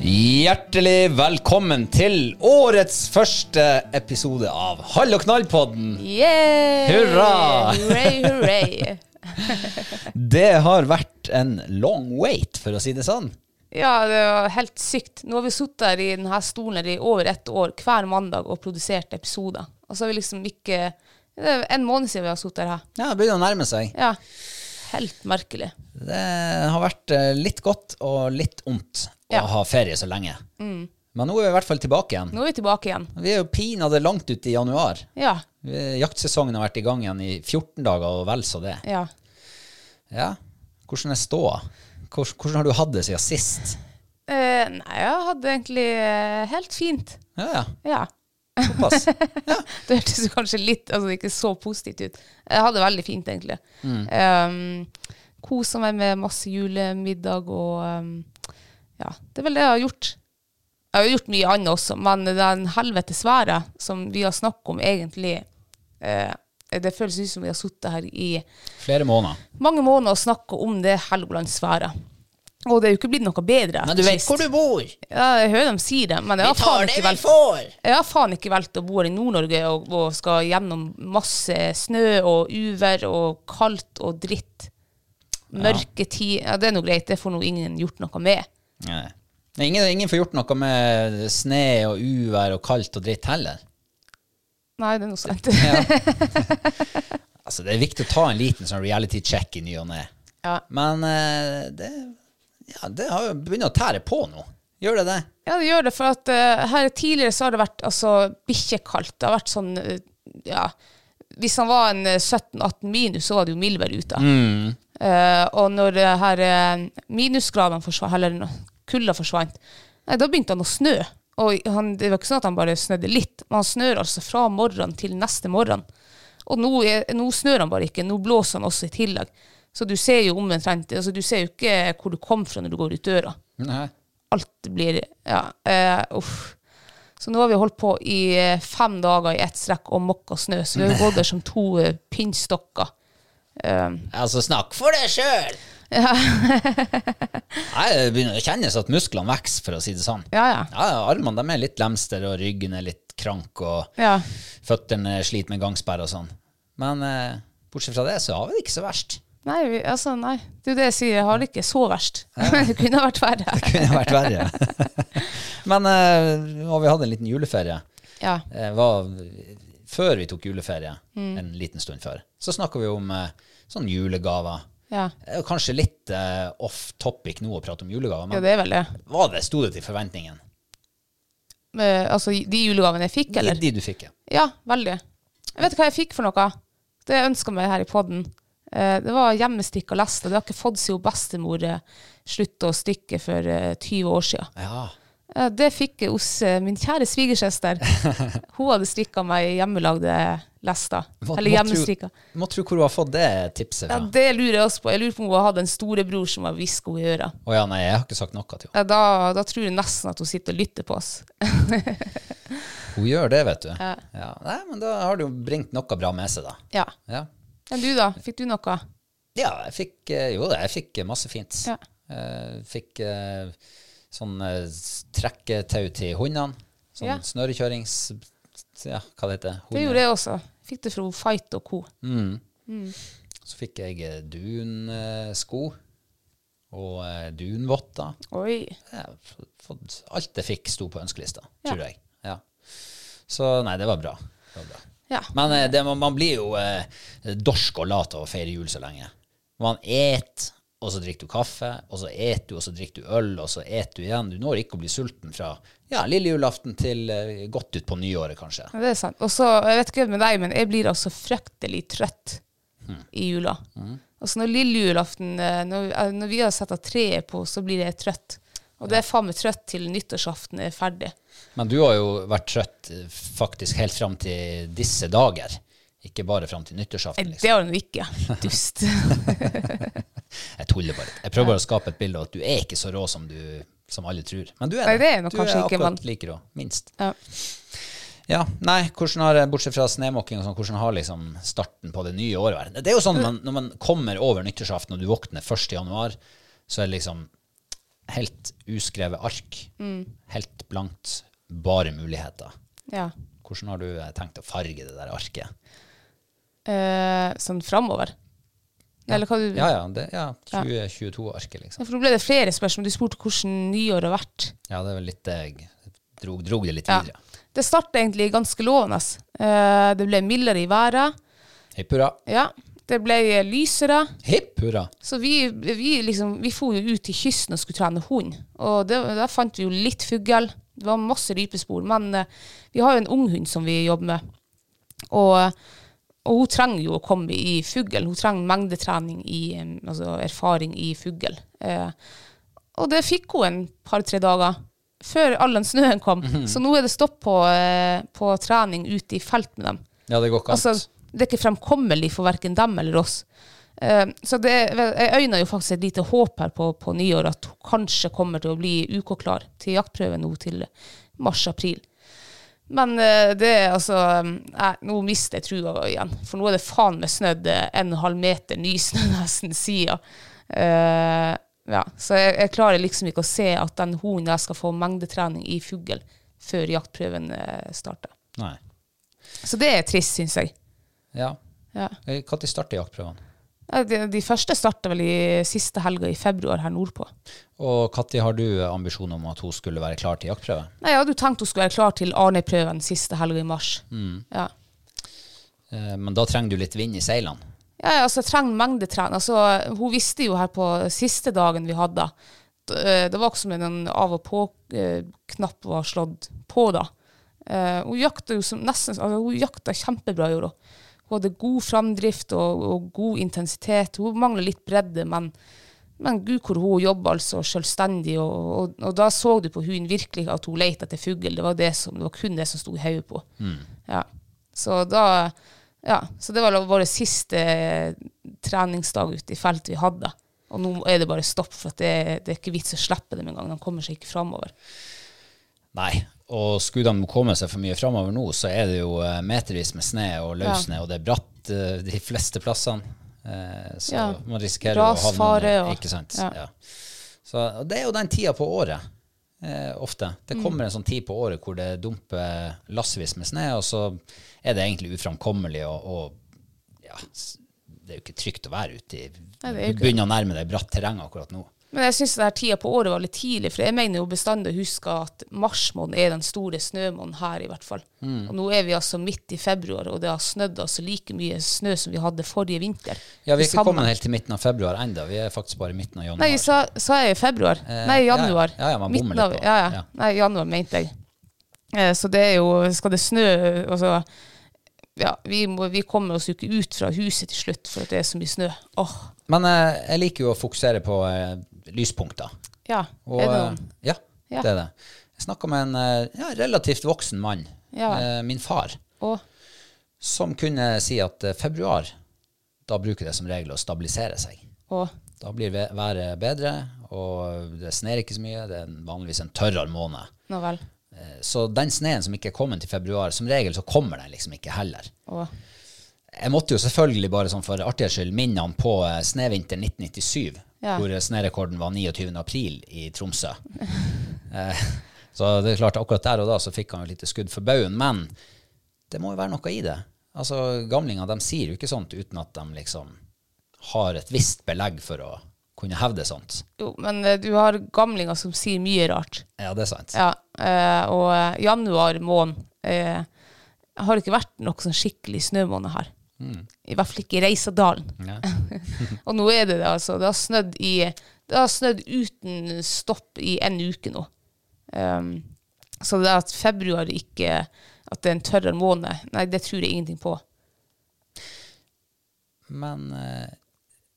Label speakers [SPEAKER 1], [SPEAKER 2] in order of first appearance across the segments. [SPEAKER 1] Hjertelig velkommen til årets første episode av Hall og knall-podden.
[SPEAKER 2] Yay!
[SPEAKER 1] Hurra!
[SPEAKER 2] Hurray, hurray.
[SPEAKER 1] Det har vært en long wait, for å si det sånn.
[SPEAKER 2] Ja, det var helt sykt. Nå har vi sittet her i denne stolen her i over ett år hver mandag og produsert episoder. Og så har vi liksom ikke Det er en måned siden vi har sittet her.
[SPEAKER 1] Ja, det begynner å nærme seg.
[SPEAKER 2] Ja. Helt merkelig.
[SPEAKER 1] Det har vært eh, litt godt og litt ondt
[SPEAKER 2] Ja. Mm.
[SPEAKER 1] å ha ferie så lenge. Men nå er vi i hvert fall tilbake igjen.
[SPEAKER 2] Nå er vi tilbake igjen.
[SPEAKER 1] Vi er jo pinadø langt ute i januar.
[SPEAKER 2] Ja.
[SPEAKER 1] Eh, Jaktsesongen har vært i gang igjen i 14 dager og vel så det.
[SPEAKER 2] Ja.
[SPEAKER 1] Ja. Hvordan er ståa? Hvordan, hvordan har du hatt det siden sist?
[SPEAKER 2] Eh, nei, jeg hadde egentlig eh, helt fint.
[SPEAKER 1] Ja, ja.
[SPEAKER 2] Ja.
[SPEAKER 1] Såpass.
[SPEAKER 2] Det hørtes jo kanskje litt altså ikke så positivt ut. Jeg hadde det veldig fint, egentlig. Mm. Kosa meg med masse julemiddag og um, Ja, det er vel det jeg har gjort. Jeg har jo gjort mye annet også, men den helvetes været som vi har snakket om, egentlig eh, Det føles ut som vi har sittet her i
[SPEAKER 1] Flere måneder.
[SPEAKER 2] mange måneder og snakka om det Helgolandsværet. Og det er jo ikke blitt noe bedre.
[SPEAKER 1] Men du vet hvor du bor.
[SPEAKER 2] Ja, jeg hører de sier det, men jeg har faen ikke vel- jeg har faen ikke valgt å bo her i Nord-Norge og, og skal gjennom masse snø og uvær og kaldt og dritt. Mørketid. Ja, det er nå greit, det får nå ingen gjort noe med.
[SPEAKER 1] Nei. Men Ingen, ingen får gjort noe med sne og uvær og kaldt og dritt heller.
[SPEAKER 2] Nei, det er noe sant.
[SPEAKER 1] Altså, det er viktig å ta en liten sånn reality check i ny og ne.
[SPEAKER 2] Ja.
[SPEAKER 1] Men eh, det, ja, det har jo begynt å tære på nå. Gjør det det?
[SPEAKER 2] Ja, det gjør det, for at eh, her tidligere så har det vært altså, bikkjekaldt. Det har vært sånn, eh, ja Hvis han var en eh, 17-18 minus, så var det jo mildvær ute. Eh, og når eh, her eh, minusgradene forsvant, eller når kulda forsvant, nei, da begynte han å snø. Og han, det var ikke sånn at han bare snødde litt, men han snør altså fra morgenen til neste morgen. Og nå, er, nå snør han bare ikke, nå blåser han også i tillegg. Så du ser jo omtrent altså, Du ser jo ikke hvor du kom fra når du går ut døra
[SPEAKER 1] Nei.
[SPEAKER 2] alt blir Ja. eh, uff. Så nå har vi holdt på i eh, fem dager i ett strekk og mokka snø, så vi har gått der som to eh, pinnstokker.
[SPEAKER 1] Altså, snakk for deg sjøl! Nei, det begynner å kjennes at musklene vokser, for å si det sånn.
[SPEAKER 2] Ja, ja.
[SPEAKER 1] Ja, Armene de er litt lemster, og ryggen er litt krank, og
[SPEAKER 2] ja.
[SPEAKER 1] føttene sliter med gangsperre og sånn. Men eh, bortsett fra det, så har vi det ikke så verst.
[SPEAKER 2] Nei, vi, altså, nei. Det er jo det jeg sier, jeg har det ikke så verst. det kunne vært verre.
[SPEAKER 1] kunne vært verre. Men eh, og vi hadde en liten juleferie.
[SPEAKER 2] Ja.
[SPEAKER 1] Eh, var,
[SPEAKER 2] Mm.
[SPEAKER 1] før vi tok juleferie, en liten stund før, så snakka vi om eh, sånn julegaver.
[SPEAKER 2] Ja.
[SPEAKER 1] Det er jo kanskje litt eh, off topic nå å prate om julegaver, men
[SPEAKER 2] ja, det er vel det.
[SPEAKER 1] var det, sto det til forventningene?
[SPEAKER 2] Men, altså, de julegavene jeg fikk,
[SPEAKER 1] De,
[SPEAKER 2] eller?
[SPEAKER 1] de du fikk, ja.
[SPEAKER 2] Ja, veldig. Jeg vet hva jeg fikk for noe. Det jeg ønska meg her i poden. Det var hjemmestikk og leste. Det har ikke fått siden bestemor eh, sluttet å stikke for eh, 20 år siden.
[SPEAKER 1] ja.
[SPEAKER 2] Eh, Det fikk jeg hos eh, min kjære svigersøster. Hun hadde strikka meg hjemmelagde lester.
[SPEAKER 1] Må-
[SPEAKER 2] Eller
[SPEAKER 1] må tro-
[SPEAKER 2] hjemmestrikka.
[SPEAKER 1] Må tro hvor hun har fått det tipset
[SPEAKER 2] Ja,
[SPEAKER 1] fra. Å ja,
[SPEAKER 2] det lurer jeg også på. Jeg lurer på om hun hadde en storebror som har hviska henne i øret.
[SPEAKER 1] nei, jeg har ikke sagt noe til henne.
[SPEAKER 2] Ja, Da, da tror jeg nesten at hun sitter og lytter på oss.
[SPEAKER 1] Hun gjør det, vet du. Ja. Nei, men da har du jo bringt noe bra med seg, da.
[SPEAKER 2] Ja.
[SPEAKER 1] Ja,
[SPEAKER 2] Men du, da? Fikk du noe?
[SPEAKER 1] ja jeg fikk eh, Jo da, jeg fikk eh, masse fint.
[SPEAKER 2] Ja.
[SPEAKER 1] Eh, fikk eh, sånn eh, s- trekketau til hundene. Sånn
[SPEAKER 2] Ja.
[SPEAKER 1] snørekjørings... Ja, hva det heter
[SPEAKER 2] Det gjorde jeg også. Fikk det fra Fight og co.
[SPEAKER 1] Så fikk jeg eh, dunsko og eh, dunvotter.
[SPEAKER 2] Oi.
[SPEAKER 1] Jeg har f- fått- Alt jeg fikk, sto på ønskelista,
[SPEAKER 2] Ja.
[SPEAKER 1] tror jeg. Ja. Så nei, det var bra. Det var bra.
[SPEAKER 2] Ja.
[SPEAKER 1] Men eh, det, man, man blir jo eh, dorsk og lat av å feire jul så lenge. Man et, og så drikker du kaffe, og så et du, og så drikker du øl, og så et du igjen. Du når ikke å bli sulten fra ja, lille julaften til eh, godt ut på nyåret, kanskje.
[SPEAKER 2] Ja, Det er sant. Og så, jeg vet ikke med deg, men jeg blir altså fryktelig trøtt
[SPEAKER 1] Hmm.
[SPEAKER 2] i jula. Og så når lille julaften, eh, når, eh, når vi har satt av treet på, så blir jeg trøtt. Og det er faen meg trøtt til nyttårsaften er ferdig. Eh,
[SPEAKER 1] Men du har jo vært trøtt eh, faktisk helt fram til disse dager. Ikke bare fram til
[SPEAKER 2] Nei,
[SPEAKER 1] nyttårsaften.
[SPEAKER 2] det
[SPEAKER 1] Liksom.
[SPEAKER 2] har hun ikke. Dust.
[SPEAKER 1] Jeg tuller bare. Jeg prøver bare å skape et bilde av at du er ikke så rå som, du, som alle tror. Men du er
[SPEAKER 2] Nei, det er nok
[SPEAKER 1] du
[SPEAKER 2] kanskje ikke,
[SPEAKER 1] akkurat
[SPEAKER 2] men-
[SPEAKER 1] like rå. Minst.
[SPEAKER 2] Ja.
[SPEAKER 1] Ja, nei, hvordan har, Bortsett fra snemåking, og sånn, hvordan har liksom starten på det nye året vært? Det er jo
[SPEAKER 2] Mm.
[SPEAKER 1] sånn man, når man kommer over nyttårsaften og du våkner 1. januar, så er det liksom helt uskrevet ark.
[SPEAKER 2] Mm.
[SPEAKER 1] Helt blankt. Bare muligheter.
[SPEAKER 2] ja.
[SPEAKER 1] Hvordan har du eh, tenkt å farge det der arket?
[SPEAKER 2] Eh, sånn framover. Eller hva du
[SPEAKER 1] Ja, ja. Det, ja 2022-arket, liksom.
[SPEAKER 2] Ja, For nå ble det flere spørsmål. Du spurte hvordan nyåret har vært.
[SPEAKER 1] Ja, det er vel litt det jeg drog, drog det litt
[SPEAKER 2] Ja.
[SPEAKER 1] videre.
[SPEAKER 2] Det startet egentlig ganske lovende. Eh, det ble mildere i været.
[SPEAKER 1] Hipp hurra.
[SPEAKER 2] Ja. Det ble eh, lysere.
[SPEAKER 1] Hipp hurra.
[SPEAKER 2] Så vi, vi, liksom, vi for jo ut til kysten og skulle trene hund. Og det, der fant vi jo litt fugl. Det var masse rypespor. Men eh, vi har jo en ung hund som vi jobber med. Og, og hun trenger jo å komme i fugl. Hun trenger mengdetrening, i, eh, altså erfaring i fugl. Eh, og det fikk hun en par-tre dager før all den snøen kom. Så nå er det stopp på, eh, på trening ute i felt med dem.
[SPEAKER 1] Ja, det går ikke an.
[SPEAKER 2] Altså, det er ikke fremkommelig for verken dem eller oss. Eh, så det, jeg øyner jo faktisk et lite håp her på, på nyår, at hun kanskje kommer til å bli UK-klar til jaktprøve nå til mars-april. Men eh, det er altså eh, Nå mister jeg trua igjen. For nå er det faen meg snødd eh, en og en halv meter ny snø nesten siden. Eh, ja, så jeg, jeg klarer liksom ikke å se at den hunden der skal få mengdetrening i fugl før jaktprøven eh, starter.
[SPEAKER 1] Nei.
[SPEAKER 2] Så det er trist, syns jeg.
[SPEAKER 1] Ja.
[SPEAKER 2] Ja.
[SPEAKER 1] Når starter jaktprøvene?
[SPEAKER 2] Ja, De, de første starter vel i siste helga i februar her nordpå.
[SPEAKER 1] Og når har du ambisjon om at hun skulle være klar til jaktprøve?
[SPEAKER 2] Nei, Jeg hadde jo tenkt hun skulle være klar til Arnøy-prøven siste helga i mars. Ja.
[SPEAKER 1] Eh, Men da trenger du litt vind i seilene.
[SPEAKER 2] Ja, ja, altså, jeg trenger mengdetrening. Altså, hun visste jo her på siste dagen vi hadde, d- eh, det var ikke som en av-og-på-knapp var slått på da. Eh, hun jakta jo som nesten, altså, hun jakta kjempebra i år. da. Hun hadde god framdrift og, og god intensitet. Hun mangla litt bredde, men, men gud hvor hun jobba altså selvstendig. Og, og, og da så du på hun virkelig at hun leita etter fugl. Det, var det, som- det var kun det som sto i hodet på. Ja. Så da ja, så det var vår siste eh, treningsdag ute i felt vi hadde. Og nå er det bare stopp, for at det, det er ikke vits å slippe dem engang. De kommer seg ikke framover.
[SPEAKER 1] Nei. Og skulle de komme seg for mye framover nå, så er det jo eh, metervis med snø og løssnø, og det er bratt eh, de fleste plassene. Eh, Så
[SPEAKER 2] Ja.
[SPEAKER 1] man risikerer å havne
[SPEAKER 2] Rasfare
[SPEAKER 1] under,
[SPEAKER 2] og-
[SPEAKER 1] Ikke sant?
[SPEAKER 2] ja.
[SPEAKER 1] Ja. Så og det er jo den tida på året. Eh, ofte. Det
[SPEAKER 2] Mm.
[SPEAKER 1] kommer en sånn tid på året hvor det dumper lassevis med snø, og så er det egentlig uframkommelig, og, og ja, s- det er jo ikke trygt å være ute i
[SPEAKER 2] Nei, det er jo
[SPEAKER 1] Du begynner å nærme deg bratt terreng akkurat nå.
[SPEAKER 2] Men jeg syns denne tida på året var litt tidlig, for jeg mener jo bestandig å huske at mars måned er den store snømåneden her, i hvert fall.
[SPEAKER 1] Mm.
[SPEAKER 2] Og nå er vi altså midt i februar, og det har snødd altså like mye snø som vi hadde forrige vinter.
[SPEAKER 1] Ja, vi er
[SPEAKER 2] Det
[SPEAKER 1] ikke
[SPEAKER 2] samme.
[SPEAKER 1] kommet helt til midten av februar ennå. Vi er faktisk bare i midten av januar.
[SPEAKER 2] Nei, sa, sa jeg i februar?
[SPEAKER 1] Eh,
[SPEAKER 2] Nei,
[SPEAKER 1] ja, ja.
[SPEAKER 2] januar.
[SPEAKER 1] Ja, ja, man
[SPEAKER 2] Midten
[SPEAKER 1] bommer litt
[SPEAKER 2] av-
[SPEAKER 1] på-
[SPEAKER 2] Ja, ja.
[SPEAKER 1] ja.
[SPEAKER 2] Nei, januar mente jeg. Eh, Så det er jo Skal det snø altså, ja, vi, må, vi kommer oss jo ikke ut fra huset til slutt for at det er så mye snø. Åh,
[SPEAKER 1] Men eh, jeg liker jo å fokusere på eh, lyspunkter.
[SPEAKER 2] ja.
[SPEAKER 1] Og,
[SPEAKER 2] er det
[SPEAKER 1] eh,
[SPEAKER 2] noen?
[SPEAKER 1] ja,
[SPEAKER 2] Ja.
[SPEAKER 1] det er det. Jeg snakka med en eh, ja, relativt voksen mann,
[SPEAKER 2] Ja.
[SPEAKER 1] eh, min far,
[SPEAKER 2] Åh,
[SPEAKER 1] som kunne si at eh, februar, da bruker det som regel å stabilisere seg.
[SPEAKER 2] åh.
[SPEAKER 1] Da blir ve- været bedre, og det sner ikke så mye. Det er en- vanligvis en tørrere måned.
[SPEAKER 2] Nå vel.
[SPEAKER 1] Eh, Så den sneen som ikke er kommet til februar, som regel så kommer den liksom ikke heller.
[SPEAKER 2] Åh.
[SPEAKER 1] Jeg måtte jo selvfølgelig bare sånn for artighets skyld minne han på eh, snevinter 1997,
[SPEAKER 2] Ja.
[SPEAKER 1] hvor snerekorden var 29. april i Tromsø. Eh, så det er klart, akkurat der og da så fikk han jo et lite skudd for baugen, men det må jo være noe i det. Altså, gamlinger, de sier jo ikke sånt uten at de liksom har et visst belegg for å kunne hevde sånt.
[SPEAKER 2] Jo, men eh, du har gamlinger som sier mye rart.
[SPEAKER 1] Ja, det er sant.
[SPEAKER 2] Ja, eh, og eh, januar måned eh, har det ikke vært noe sånn skikkelig snømåned her.
[SPEAKER 1] Mm.
[SPEAKER 2] I hvert fall ikke i Reisadalen.
[SPEAKER 1] Ja.
[SPEAKER 2] og nå er det det, altså. Det har snødd, i, det har snødd uten stopp i en uke nå. Ehm, så det at februar ikke At det er en tørrere måned, nei, det tror jeg ingenting på.
[SPEAKER 1] Men eh,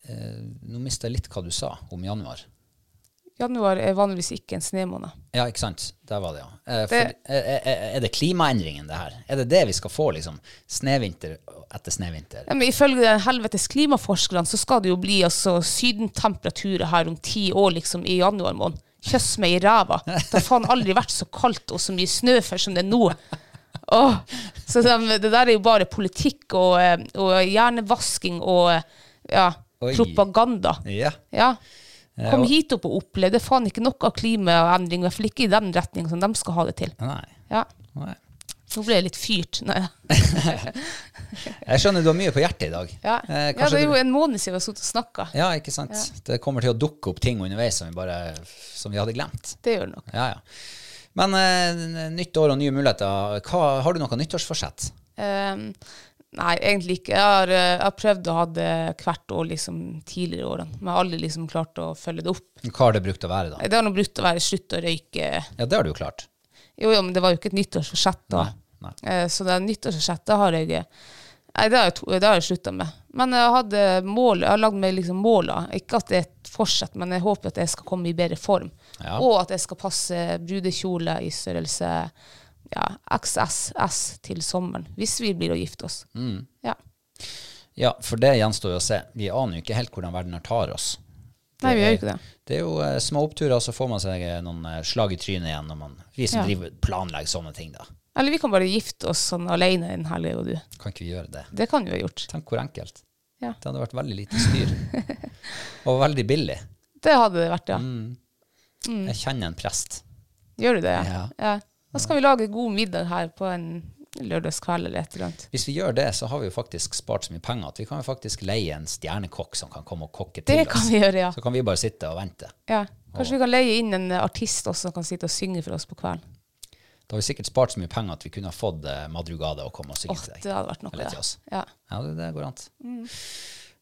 [SPEAKER 1] eh, nå mista jeg litt hva du sa om januar.
[SPEAKER 2] Januar er vanligvis ikke en snømåned.
[SPEAKER 1] Ja, ikke sant. Der var det, ja. Eh, for,
[SPEAKER 2] Det-
[SPEAKER 1] eh, eh, er det klimaendringen, det her? Er det det vi skal få, liksom? Snevinter etter snevinter?
[SPEAKER 2] Ja, men ifølge den helvetes klimaforskerne så skal det jo bli altså sydentemperaturer her om ti år, liksom, i januar måned. Kjøss meg i ræva. Det har faen aldri vært så kaldt og så mye snø før som det er nå. Åh, så de, det der er jo bare politikk og, eh, og hjernevasking og eh, ja,
[SPEAKER 1] Oi.
[SPEAKER 2] propaganda.
[SPEAKER 1] Ja.
[SPEAKER 2] Ja. Kom
[SPEAKER 1] og-
[SPEAKER 2] hit opp og opplev. Det er faen ikke noe av klimaendring, i hvert fall ikke i den retningen som de skal ha det til.
[SPEAKER 1] Nei.
[SPEAKER 2] Ja.
[SPEAKER 1] Nei.
[SPEAKER 2] Nå ble jeg litt fyrt. Nei.
[SPEAKER 1] Eh, Jeg skjønner du har mye på hjertet i dag.
[SPEAKER 2] Ja.
[SPEAKER 1] Eh,
[SPEAKER 2] ja, det
[SPEAKER 1] kanskje
[SPEAKER 2] er jo
[SPEAKER 1] du-
[SPEAKER 2] en måned siden vi har sittet og snakka.
[SPEAKER 1] ja, ikke sant. Det kommer til å dukke opp ting underveis som vi, bare, som vi hadde glemt.
[SPEAKER 2] Det gjør det nok.
[SPEAKER 1] Ja, ja. Men eh, nytt år og nye muligheter. Hva, har du noe nyttårsforsett?
[SPEAKER 2] Ehm, nei, egentlig ikke. Jeg har, eh, jeg har prøvd å ha det hvert år liksom, tidligere årene, men jeg har aldri liksom, klart å følge det opp.
[SPEAKER 1] Hva har det brukt å være, da?
[SPEAKER 2] Nei, Det har nå brukt å være slutt å røyke.
[SPEAKER 1] Ja, det har du jo klart.
[SPEAKER 2] Jo, jo, men det var jo ikke et nyttårsforsett da.
[SPEAKER 1] Nei,
[SPEAKER 2] Eh, så det nyttårsforsettet har jeg eh, Nei, det har jeg, to- det har jeg slutta med. Men jeg hadde mål, jeg har lagd meg liksom måler. Ikke at det er et forsett, men jeg håper at jeg skal komme i bedre form.
[SPEAKER 1] Ja.
[SPEAKER 2] Og at jeg skal passe brudekjole i størrelse ja, XSS til sommeren. Hvis vi blir å gifte oss.
[SPEAKER 1] Mm.
[SPEAKER 2] Ja.
[SPEAKER 1] Ja, for det gjenstår jo å se. Vi aner jo ikke helt hvordan verden her tar oss.
[SPEAKER 2] Nei, vi
[SPEAKER 1] er-
[SPEAKER 2] gjør ikke det.
[SPEAKER 1] Det er jo eh, små oppturer, så får man seg eh, noen eh, slag i trynet igjen når man Vi som
[SPEAKER 2] Ja.
[SPEAKER 1] driver planlegger sånne ting, da.
[SPEAKER 2] Eller vi kan bare gifte oss sånn alene en helg, jeg og du.
[SPEAKER 1] Kan ikke vi gjøre det?
[SPEAKER 2] Det kan vi jo ha gjort.
[SPEAKER 1] Tenk hvor enkelt.
[SPEAKER 2] Ja.
[SPEAKER 1] Det hadde vært veldig lite styr. og veldig billig.
[SPEAKER 2] Det hadde det vært, ja.
[SPEAKER 1] Mm.
[SPEAKER 2] Mm.
[SPEAKER 1] Jeg kjenner en prest.
[SPEAKER 2] Gjør du det?
[SPEAKER 1] Ja.
[SPEAKER 2] Ja. ja. Da skal vi lage god middag her på en lørdagskveld eller et eller annet.
[SPEAKER 1] Hvis vi gjør det, så har vi jo faktisk spart så mye penger at vi kan jo faktisk leie en stjernekokk som kan komme og kokke
[SPEAKER 2] Det
[SPEAKER 1] til
[SPEAKER 2] kan
[SPEAKER 1] oss.
[SPEAKER 2] vi gjøre, ja.
[SPEAKER 1] Så kan vi bare sitte og vente.
[SPEAKER 2] ja. Kanskje vi kan leie inn en artist også som kan sitte og synge for oss på kvelden.
[SPEAKER 1] Da har vi sikkert spart så mye penger at vi kunne ha fått eh, Madrugada og komme og synge
[SPEAKER 2] Åh,
[SPEAKER 1] til
[SPEAKER 2] det
[SPEAKER 1] deg.
[SPEAKER 2] hadde vært noe.
[SPEAKER 1] Eller til
[SPEAKER 2] ja.
[SPEAKER 1] oss.
[SPEAKER 2] Ja.
[SPEAKER 1] Ja, det, det går an.
[SPEAKER 2] Mm.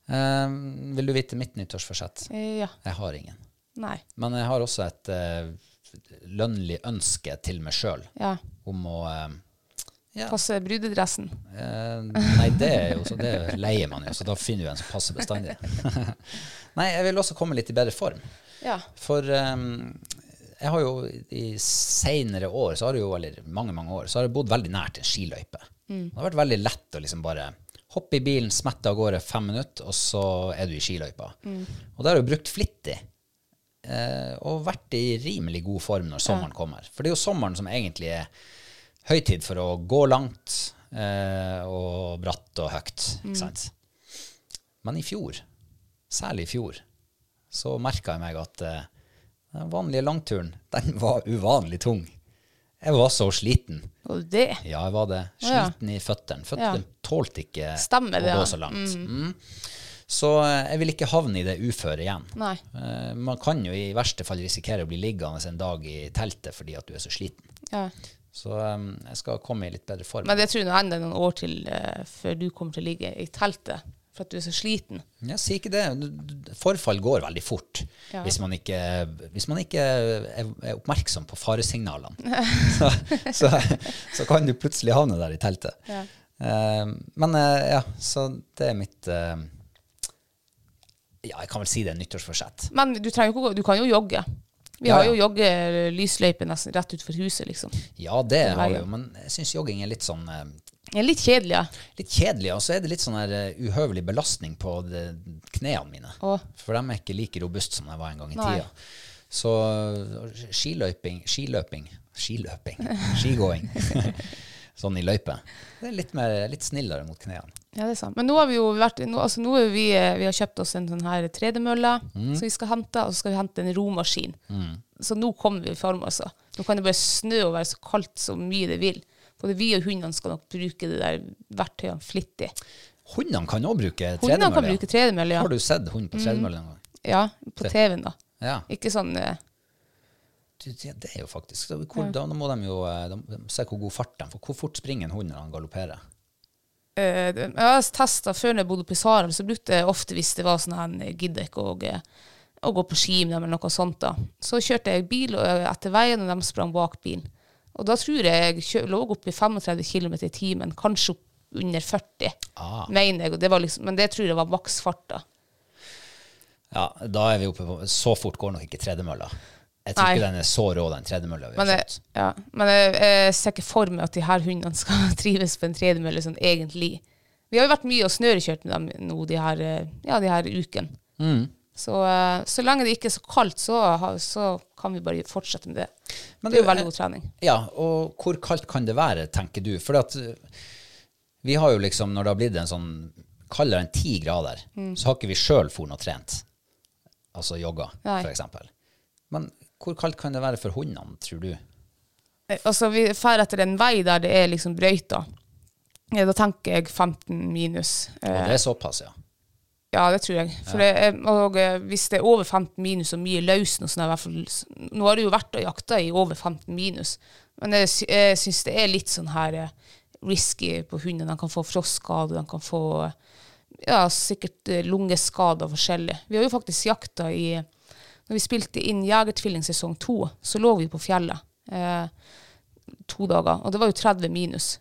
[SPEAKER 1] Eh, vil du vite mitt nyttårsforsett?
[SPEAKER 2] Eh, ja.
[SPEAKER 1] Jeg har ingen.
[SPEAKER 2] Nei.
[SPEAKER 1] Men jeg har også et eh, lønnlig ønske til meg sjøl
[SPEAKER 2] Ja.
[SPEAKER 1] om å eh, ja,
[SPEAKER 2] Passe brudedressen.
[SPEAKER 1] eh, Nei, det er jo så det leier man jo, så da finner du en som passer bestandig. nei, jeg vil også komme litt i bedre form.
[SPEAKER 2] Ja.
[SPEAKER 1] For eh, jeg har jo i seinere år, så har jeg jo, eller mange mange år, så har jeg bodd veldig nært en skiløype. Det har vært veldig lett å liksom bare hoppe i bilen, smette av gårde fem minutter, og så er du i skiløypa. Og det har jeg jo brukt flittig. Eh, og vært i rimelig god form når sommeren kommer. For det er jo sommeren som egentlig er høytid for å gå langt eh, og bratt og høyt. Ikke sant? Men i fjor, særlig i fjor, så merka jeg meg at eh, den vanlige langturen, den var uvanlig tung. Jeg var så sliten.
[SPEAKER 2] Og det
[SPEAKER 1] Ja, jeg var det.
[SPEAKER 2] Å, ja.
[SPEAKER 1] Sliten i føttene.
[SPEAKER 2] Ja.
[SPEAKER 1] Føttene tålte ikke
[SPEAKER 2] Stemmer det,
[SPEAKER 1] å gå
[SPEAKER 2] ja.
[SPEAKER 1] så langt. Mm. Så eh, jeg vil ikke havne i det uføret igjen.
[SPEAKER 2] Nei.
[SPEAKER 1] Eh, Man kan jo i verste fall risikere å bli liggende en dag i teltet fordi at du er så sliten.
[SPEAKER 2] Ja.
[SPEAKER 1] Så eh, jeg skal komme i litt bedre form.
[SPEAKER 2] Men det tror jeg nå ender noen år til eh, før du kommer til å ligge i teltet for at du er så sliten.
[SPEAKER 1] Ja, si ikke det. Du- du- Forfall går veldig fort
[SPEAKER 2] Ja.
[SPEAKER 1] hvis, man ikke, hvis man ikke er er oppmerksom på faresignalene. så, så, så kan du plutselig havne der i teltet. Eh, men eh, ja, så det er mitt eh, Ja, jeg kan vel si det er nyttårsforsett.
[SPEAKER 2] Men du, trenger jo ikke, å gå- du kan jo jogge. Vi
[SPEAKER 1] Ja,
[SPEAKER 2] har
[SPEAKER 1] ja.
[SPEAKER 2] jo jogge-lysløype nesten rett utenfor huset, liksom.
[SPEAKER 1] Ja, det har vi jo, men jeg syns jogging er litt sånn eh,
[SPEAKER 2] Det er litt kjedelig. ja.
[SPEAKER 1] litt kjedelig, og så er det litt sånn her eh, uhøvelig belastning på de, knærne mine.
[SPEAKER 2] Å.
[SPEAKER 1] For de er ikke like robuste som de var en gang i
[SPEAKER 2] Nei.
[SPEAKER 1] tida. Så eh, skiløyping Skiløping. Skiløping. Skigåing. sånn i løype. Det er litt, mer, litt snillere mot knærne.
[SPEAKER 2] Ja, det er sant. Men nå har vi jo vært, nå, altså nå er vi, vi har kjøpt oss en sånn her tredemølle
[SPEAKER 1] Mm.
[SPEAKER 2] som vi skal hente, og så skal vi hente en romaskin. Så nå kommer vi i form, altså. Nå kan det bare snø og være så kaldt så mye det vil. Både vi og hundene skal nok bruke det der verktøyene flittig.
[SPEAKER 1] Hundene kan òg bruke
[SPEAKER 2] Hundene
[SPEAKER 1] tredemølle.
[SPEAKER 2] kan bruke tredemølle, ja.
[SPEAKER 1] Har du sett hund på tredemølle noen gang?
[SPEAKER 2] ja. På TV-en, da.
[SPEAKER 1] Ja.
[SPEAKER 2] Ikke sånn eh,
[SPEAKER 1] Du, det det er jo faktisk så hvor, da, må de jo eh, de, de, Se hvor god fart de får. Hvor fort springer en hund når han galopperer?
[SPEAKER 2] eh, Jeg har testa før når jeg bodde på Saral, så brukte jeg ofte hvis det var sånn her jeg gidder ikke å, eh, å gå på ski med dem eller noe sånt. da. Så kjørte jeg bil og, eh, etter veien, og de sprang bak bilen. Og da tror jeg jeg kjø- lå oppi 35 km i timen, kanskje opp under 40,
[SPEAKER 1] Ah.
[SPEAKER 2] mener jeg. Og det var liksom, men det tror jeg var maksfart, da.
[SPEAKER 1] Ja, da er vi oppe på Så fort går nok ikke tredemølla. Jeg tror
[SPEAKER 2] Nei.
[SPEAKER 1] ikke den er så rå, den tredemølla vi
[SPEAKER 2] Men,
[SPEAKER 1] har
[SPEAKER 2] jeg,
[SPEAKER 1] kjøpt.
[SPEAKER 2] ja, men jeg, jeg ser ikke for meg at de her hundene skal trives på en tredemølle sånn egentlig. Vi har jo vært mye og snørekjørt med dem nå de her, eh, ja, de her ukene.
[SPEAKER 1] Mm.
[SPEAKER 2] Så, eh, så lenge det ikke er så kaldt, så, har- så kan vi bare fortsette med det.
[SPEAKER 1] Men
[SPEAKER 2] det er jo
[SPEAKER 1] du,
[SPEAKER 2] veldig
[SPEAKER 1] eh,
[SPEAKER 2] god trening.
[SPEAKER 1] Ja, og hvor kaldt kan det være, tenker du? For at uh, vi har jo liksom, når det har blitt en sånn kaldere enn ti grader, så har ikke vi sjøl for'n og trent. Altså jogga,
[SPEAKER 2] Nei.
[SPEAKER 1] for eksempel. Men hvor kaldt kan det være for hundene, tror du?
[SPEAKER 2] Eh, Altså, vi drar etter en vei der det er liksom brøyta. Ja, da tenker jeg 15 minus.
[SPEAKER 1] Og
[SPEAKER 2] Eh,
[SPEAKER 1] det er såpass, ja.
[SPEAKER 2] Ja, det tror jeg. For det er, og eh, hvis det er over 15 minus og mye løs nå, sånn er i hvert fall, s- nå har det jo vært og jakta i over 15 minus, men jeg, sy- jeg syns det er litt sånn her eh, risky på hunden. Den kan få frostskade, den kan få eh, ja, sikkert eh, lungeskader og forskjellig. Vi har jo faktisk jakta i Når vi spilte inn Jegertvilling sesong to, så lå vi på fjellet eh, to dager, og det var jo 30 minus.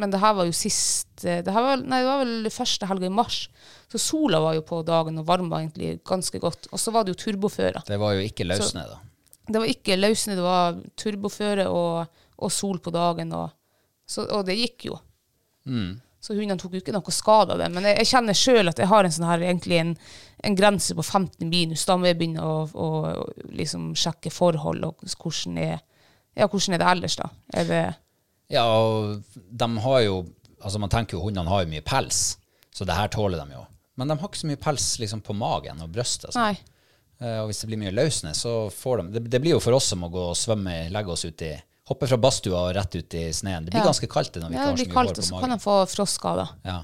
[SPEAKER 2] Men det her var jo sist eh, det her var, Nei, det var vel første helga i mars. Så sola var jo på dagen og varma egentlig ganske godt. Og så var det jo turboføre.
[SPEAKER 1] Det var jo ikke løsne, da.
[SPEAKER 2] Det var ikke løsne, det var turboføre og, og sol på dagen. Og, så, og det gikk jo. Så hundene tok jo ikke noe skade av det. Men jeg, jeg kjenner sjøl at jeg har en sånn her, egentlig en, en grense på 15 minus. Da må jeg begynne å, å, å liksom sjekke forhold og hvordan er, ja, hvordan er det ellers, da. Er det,
[SPEAKER 1] Ja, og de har jo Altså, man tenker jo hundene har jo mye pels, så det her tåler de jo. Men de har ikke så mye pels liksom på magen og brystet. og sånn.
[SPEAKER 2] nei.
[SPEAKER 1] Eh, Og hvis det blir mye løsne, så får de det, det blir jo for oss som å gå og svømme, legge oss ut i Hoppe fra badstua og rett ut i sneen. Det blir
[SPEAKER 2] Ja.
[SPEAKER 1] ganske kaldt det når vi ikke
[SPEAKER 2] Ja,
[SPEAKER 1] har
[SPEAKER 2] det
[SPEAKER 1] så
[SPEAKER 2] blir
[SPEAKER 1] mye hår
[SPEAKER 2] kaldt,
[SPEAKER 1] på
[SPEAKER 2] og så kan
[SPEAKER 1] magen.
[SPEAKER 2] de få frostskader.
[SPEAKER 1] Ja.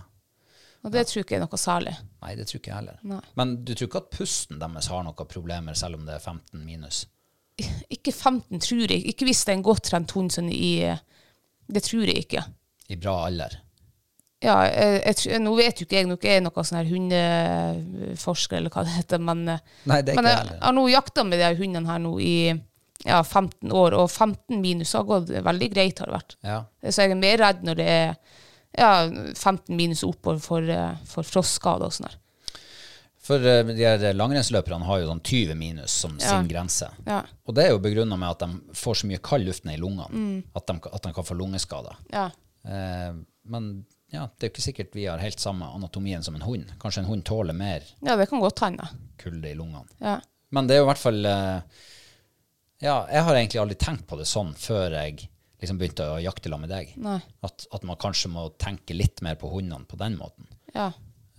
[SPEAKER 2] Og det tror jeg ikke er noe særlig.
[SPEAKER 1] Nei, det tror ikke jeg heller.
[SPEAKER 2] Nei.
[SPEAKER 1] Men du tror ikke at pusten deres har noen problemer, selv om det er 15 minus?
[SPEAKER 2] Ikke 15, tror jeg. Ikke hvis det er en godt trent hund sånn i Det tror jeg ikke.
[SPEAKER 1] I bra alder?
[SPEAKER 2] Ja, jeg, jeg, tror- nå vet jo ikke jeg, nå er ikke jeg noen sånn her hundeforsker eller hva det heter, men, eh,
[SPEAKER 1] Nei, det er
[SPEAKER 2] men
[SPEAKER 1] ikke
[SPEAKER 2] jeg,
[SPEAKER 1] jeg heller.
[SPEAKER 2] har nå jakta med de her hundene her nå i ja, 15 år, og 15 minus har gått veldig greit, har det vært.
[SPEAKER 1] Ja.
[SPEAKER 2] Så jeg er mer redd når det er ja, 15 minus oppover for, eh, for frostskader og sånn her.
[SPEAKER 1] For eh, de her langrennsløperne har jo sånn 20 minus som
[SPEAKER 2] Ja.
[SPEAKER 1] sin grense.
[SPEAKER 2] Ja.
[SPEAKER 1] Og det er jo begrunna med at de får så mye kald luft ned i lungene
[SPEAKER 2] Mm.
[SPEAKER 1] at, de, at de kan få lungeskader.
[SPEAKER 2] Ja.
[SPEAKER 1] Eh, men ja, det er jo ikke sikkert vi har helt samme anatomien som en hund. Kanskje en hund tåler mer
[SPEAKER 2] ja, det kan godt hende.
[SPEAKER 1] kulde i lungene.
[SPEAKER 2] Ja.
[SPEAKER 1] Men det er jo i hvert fall eh, Ja, jeg har egentlig aldri tenkt på det sånn før jeg liksom begynte å jakte sammen med deg.
[SPEAKER 2] Nei.
[SPEAKER 1] At, at man kanskje må tenke litt mer på hundene på den måten.
[SPEAKER 2] Ja.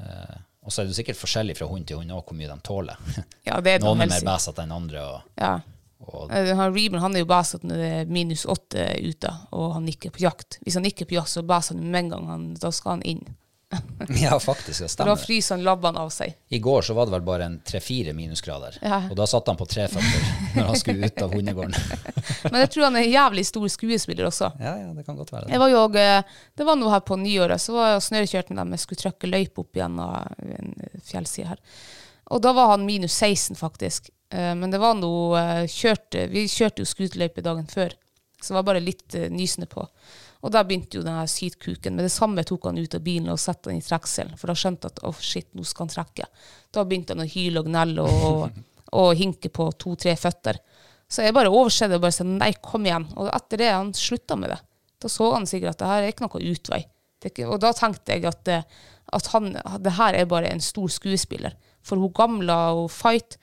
[SPEAKER 1] Eh, og så er det jo sikkert forskjellig fra hund til hund òg, hvor mye de tåler.
[SPEAKER 2] ja, det er
[SPEAKER 1] Noen er
[SPEAKER 2] helt
[SPEAKER 1] mer
[SPEAKER 2] sikkert.
[SPEAKER 1] bæsete enn andre. Og,
[SPEAKER 2] Ja.
[SPEAKER 1] og,
[SPEAKER 2] Eh, Han Reeman han er jo bæset når det er minus åtte ute, og han ikke er på jakt. Hvis han ikke er på jakt, så bæser han med en gang, han, da skal han inn.
[SPEAKER 1] Ja, faktisk. Det
[SPEAKER 2] For da
[SPEAKER 1] stemmer.
[SPEAKER 2] fryser han labbene av seg.
[SPEAKER 1] I går så var det vel bare en tre-fire minusgrader.
[SPEAKER 2] Ja.
[SPEAKER 1] Og da satt han på tre føtter når han skulle ut av hundegården.
[SPEAKER 2] Men jeg tror han er en jævlig stor skuespiller også.
[SPEAKER 1] Ja, ja, det kan godt være
[SPEAKER 2] Jeg
[SPEAKER 1] det.
[SPEAKER 2] var jo og, eh, det var nå her på nyåret, så var jeg og snørekjørte med dem. Jeg skulle trykke løype opp gjennom en eh, fjellside her. Og da var han minus 16, faktisk. Eh, Men det var noe eh, kjørte, Vi kjørte jo scooterløype dagen før, så det var bare litt eh, nysende på. Og da begynte jo den her sytkuken. Med det samme tok han ut av bilen og satte han i trekselen, for da skjønte han at oh, shit, nå skal han trekke. Da begynte han å hyle og gnelle og, og hinke på to-tre føtter. Så jeg bare overser det og bare sier nei, kom igjen. Og etter det han slutta med det. Da så han sikkert at det her er ikke noe utvei. Det er ikke, og da tenkte jeg at, det- at han, det her er bare en stor skuespiller. For hun gamla og Fight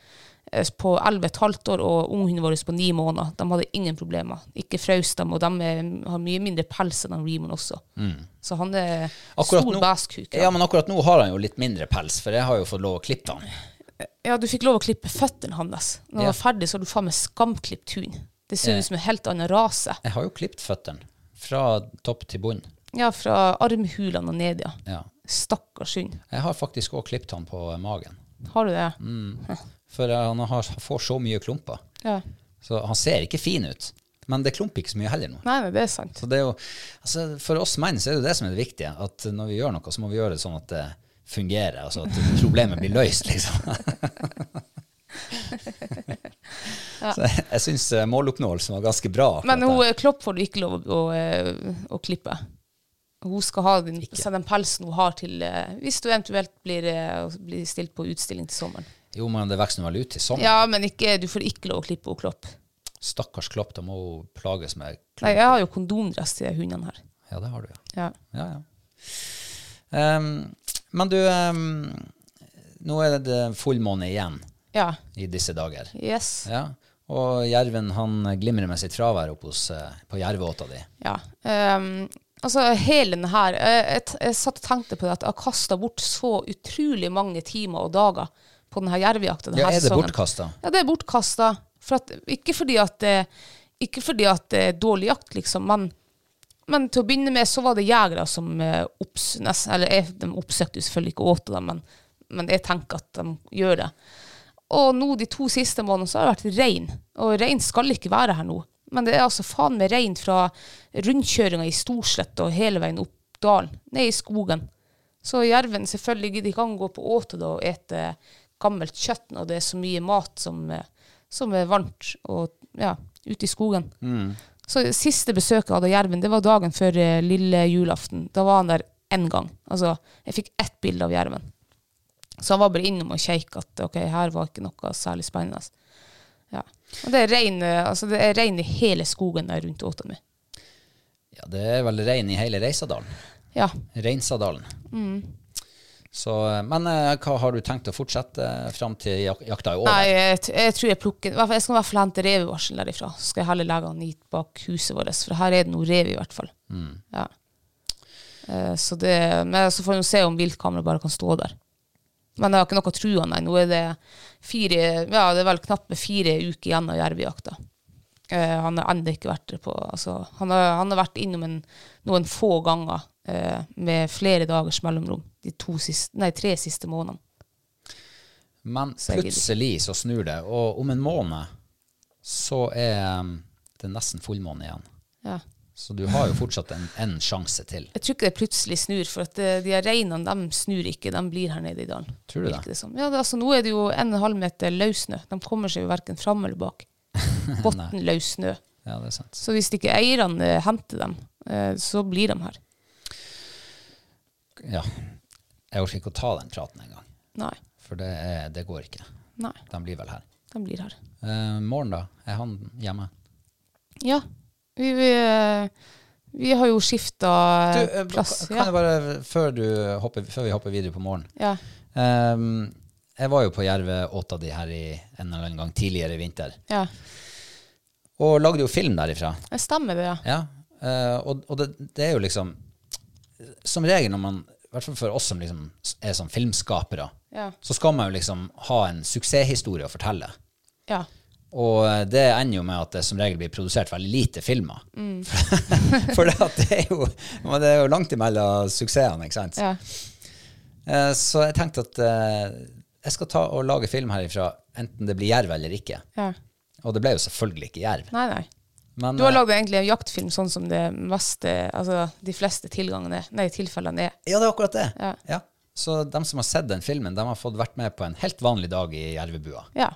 [SPEAKER 2] eh, på 11,5 år og ungen vår på 9 måneder, de hadde ingen problemer. Ikke frøs dem, og de er, har mye mindre pels enn han Raymond også. Så han er stor bæskuk.
[SPEAKER 1] Mm. ja, men akkurat nå har han jo litt mindre pels, for jeg har jo fått lov å klippe han.
[SPEAKER 2] Ja, du fikk lov å klippe føttene hans. Når han
[SPEAKER 1] Ja.
[SPEAKER 2] var ferdig, så hadde du faen meg skamklipt hund. Det ser
[SPEAKER 1] Ja.
[SPEAKER 2] ut som en helt annen rase.
[SPEAKER 1] Jeg har jo klippet føttene. Fra topp til bunn.
[SPEAKER 2] Ja, fra armhulene og ned, ja.
[SPEAKER 1] Ja.
[SPEAKER 2] Stakkars hund.
[SPEAKER 1] Jeg har faktisk òg klippet han på magen.
[SPEAKER 2] Har du det?
[SPEAKER 1] Mm. For eh, han har, får så mye klumper.
[SPEAKER 2] Ja.
[SPEAKER 1] Så han ser ikke fin ut. Men det klumper ikke så mye heller nå.
[SPEAKER 2] Nei, nei, det er sant.
[SPEAKER 1] Så det er jo, altså For oss menn så er det jo det som er det viktige. At når vi gjør noe, så må vi gjøre det sånn at det fungerer. altså At problemet blir løst, liksom. så jeg, jeg syns måloppnåelsen var ganske bra. akkurat
[SPEAKER 2] Men hun,
[SPEAKER 1] der.
[SPEAKER 2] Klopp får du ikke lov å, å, å klippe. Hun skal ha den, så den pelsen hun har til eh, Hvis du eventuelt blir, eh, blir stilt på utstilling til sommeren.
[SPEAKER 1] Jo, men det vokser nå vel ut til sommeren.
[SPEAKER 2] Ja, men ikke, du får ikke lov å klippe hun Klopp.
[SPEAKER 1] Stakkars Klopp, da må hun plages med
[SPEAKER 2] Nei, jeg har jo kondomdress til hundene her.
[SPEAKER 1] Ja, det har du, ja.
[SPEAKER 2] Ja.
[SPEAKER 1] ja, ja. Ehm, men du, ehm, nå er det fullmåne igjen
[SPEAKER 2] ja.
[SPEAKER 1] i disse dager.
[SPEAKER 2] Yes.
[SPEAKER 1] Ja, og jerven han glimrer med sitt fravær oppe hos, eh, på jerveåta di.
[SPEAKER 2] Ja. Ehm, altså, hele den her jeg, jeg, t- jeg satt og tenkte på det at jeg har kasta bort så utrolig mange timer og dager på denne jervejakta denne
[SPEAKER 1] Ja, er det
[SPEAKER 2] sesongen.
[SPEAKER 1] bortkastet?
[SPEAKER 2] Ja, det er bortkasta. For at, ikke, fordi at det, ikke fordi at det er dårlig jakt, liksom, men, men til å begynne med så var det jegere som eh, opps, nes- Eller jeg, de oppsøkte jo selvfølgelig ikke åte dem, men, men jeg tenker at de gjør det. Og nå de to siste månedene så har det vært rein. Og rein skal ikke være her nå. Men det er altså faen meg rein fra rundkjøringa i Storslett og hele veien opp dalen, ned i skogen. Så jerven selvfølgelig, de kan gå på åte da og ete gammelt kjøtt når det er så mye mat som, eh, som er varmt og ja, ute i skogen. Så siste besøket jeg hadde av jerven, det var dagen før eh, lille julaften. Da var han der én gang. Altså, jeg fikk ett bilde av jerven. Så han var bare innom og kjekk at ok, her var ikke noe særlig spennende. Ja. Og det er rein eh, altså det er rein i hele skogen der rundt åta mi.
[SPEAKER 1] Ja, det er vel rein i hele Reisadalen.
[SPEAKER 2] Ja.
[SPEAKER 1] Reinsadalen. Så, eh, men eh, hva har du tenkt å fortsette eh, fram til jak jakta er over?
[SPEAKER 2] Nei, jeg, t- jeg tror jeg plukker i hvert fall- Jeg skal i hvert fall hente revevarsel derifra. Så skal jeg heller legge han hit bak huset vårt, for her er det noe rev i hvert fall. Ja. Eh, Så, det, men så får vi jo se om viltkameraet bare kan stå der. Men jeg har ikke noe trua, nei. Nå er det fire Ja, det er vel knappe fire uker igjen av jervejakta. Eh, han har ennå ikke vært der på altså, han, har, han har vært innom en, noen få ganger eh, med flere dagers mellomrom de to siste, nei, tre siste månedene.
[SPEAKER 1] Men
[SPEAKER 2] Så jeg gidder ikke.
[SPEAKER 1] plutselig så snur det, og om en måned så er um, det nesten fullmåne igjen.
[SPEAKER 2] Ja.
[SPEAKER 1] Så du har jo fortsatt en, en sjanse til.
[SPEAKER 2] Jeg tror ikke det plutselig snur, for at eh, de her reinene de snur ikke. De blir her nede i dalen.
[SPEAKER 1] Tror du det?
[SPEAKER 2] Virker som. Ja, det, altså, nå er det jo en og en halv meter løssnø. De kommer seg jo verken fram eller bak. Bunnløs snø.
[SPEAKER 1] Ja, det er sant.
[SPEAKER 2] Så hvis ikke eierne eh, henter dem, eh, så blir de her.
[SPEAKER 1] Ja. Jeg orker ikke å ta den praten engang,
[SPEAKER 2] Nei.
[SPEAKER 1] for det, er, det går ikke.
[SPEAKER 2] Nei,
[SPEAKER 1] De blir vel her.
[SPEAKER 2] de blir her.
[SPEAKER 1] Eh, morgen, da? Er han hjemme?
[SPEAKER 2] Ja. Vi, vi, eh, vi har jo skifta
[SPEAKER 1] Du, eh,
[SPEAKER 2] plass.
[SPEAKER 1] kan
[SPEAKER 2] ja.
[SPEAKER 1] jeg bare, før, du hopper, før vi hopper videre på morgen
[SPEAKER 2] ja.
[SPEAKER 1] Ehm, Jeg var jo på Jerveåta di her i en eller annen gang tidligere i vinter,
[SPEAKER 2] Ja.
[SPEAKER 1] og lagde jo film derifra.
[SPEAKER 2] Det stemmer, det. ja.
[SPEAKER 1] Ja, eh, og, og det, det er jo liksom Som regel når man I hvert fall for oss som liksom er sånn filmskapere,
[SPEAKER 2] Ja.
[SPEAKER 1] så skal man jo liksom ha en suksesshistorie å fortelle.
[SPEAKER 2] Ja.
[SPEAKER 1] Og eh, det ender jo med at det som regel blir produsert veldig lite filmer.
[SPEAKER 2] Mm.
[SPEAKER 1] For det, at det, er jo, men det er jo langt imellom suksessene, ikke sant.
[SPEAKER 2] ja.
[SPEAKER 1] Eh, Så jeg tenkte at eh, jeg skal ta og lage film herifra, enten det blir jerv eller ikke.
[SPEAKER 2] Ja.
[SPEAKER 1] Og det ble jo selvfølgelig ikke jerv.
[SPEAKER 2] Nei, nei.
[SPEAKER 1] Men,
[SPEAKER 2] Du har
[SPEAKER 1] eh,
[SPEAKER 2] lagd egentlig en jaktfilm sånn som det meste, altså de fleste tilgangene, nei, tilfellene er.
[SPEAKER 1] Ja, det er akkurat det.
[SPEAKER 2] Ja.
[SPEAKER 1] Så de som har sett den filmen, de har fått vært med på en helt vanlig dag i Jervebua.
[SPEAKER 2] Ja.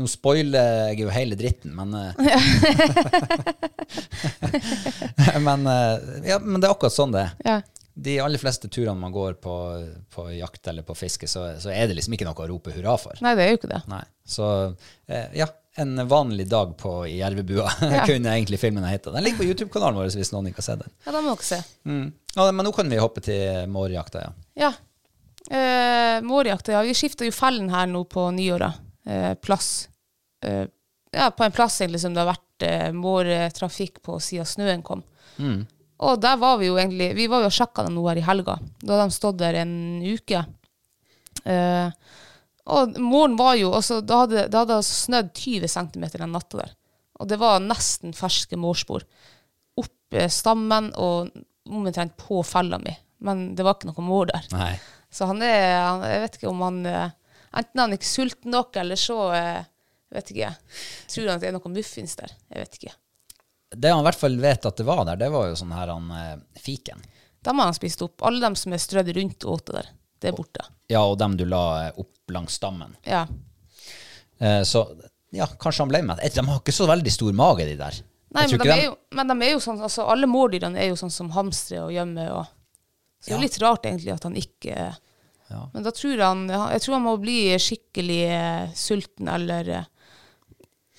[SPEAKER 1] Nå spoiler jeg jo hele dritten, men eh, men, eh, ja, men det er akkurat sånn det er.
[SPEAKER 2] ja.
[SPEAKER 1] De aller fleste turene man går på, på jakt eller på fiske, så, så er det liksom ikke noe å rope hurra for.
[SPEAKER 2] Nei, det er jo ikke det.
[SPEAKER 1] Nei. Så eh, ja, en vanlig dag på i Jervebua kunne egentlig filmen ha heta. Den ligger på YouTube-kanalen vår hvis noen ikke har sett den. Mm.
[SPEAKER 2] Ja, da må dere se.
[SPEAKER 1] Ja, men nå kan vi hoppe til mårjakta, ja.
[SPEAKER 2] Ja. Eh, Mårjakta, ja. Vi skifta jo fellen her nå på nyåra. Eh, plass. Eh, ja, på en plass egentlig som det har vært eh, mårtrafikk på siden snøen kom. Og der var vi jo egentlig Vi var jo og sjekka dem nå her i helga. Da hadde de stått der en uke. Eh, og måren var jo også, Da hadde da hadde det altså snødd 20 cm den natta der. Og det var nesten ferske mårspor. Opp eh, stammen og omtrent på fella mi. Men det var ikke noe mår der.
[SPEAKER 1] Nei.
[SPEAKER 2] Så han er han, Jeg vet ikke om han eh, Enten er han ikke sulten nok, eller så eh, jeg vet ikke. Tror han at det er noe muffins der? Jeg vet ikke.
[SPEAKER 1] Det han i hvert fall vet at det var der, det var jo sånn her han eh, fiken.
[SPEAKER 2] Dem har han spist opp. Alle dem som er strødd rundt og åt det der, det er borte.
[SPEAKER 1] Ja, og dem du la eh, opp langs stammen.
[SPEAKER 2] Ja.
[SPEAKER 1] Eh, så ja, kanskje han ble med. Eh, De har ikke så veldig stor mage, de der.
[SPEAKER 2] Nei,
[SPEAKER 1] Jeg
[SPEAKER 2] men
[SPEAKER 1] tror
[SPEAKER 2] de,
[SPEAKER 1] ikke
[SPEAKER 2] er jo, men de er jo sånn altså, Alle mårdyrene er jo sånn som hamstre og gjemme. Og, så det er
[SPEAKER 1] Ja.
[SPEAKER 2] litt rart egentlig at han ikke
[SPEAKER 1] Ja.
[SPEAKER 2] Men da tror han Jeg tror han må bli skikkelig eh, sulten eller eh,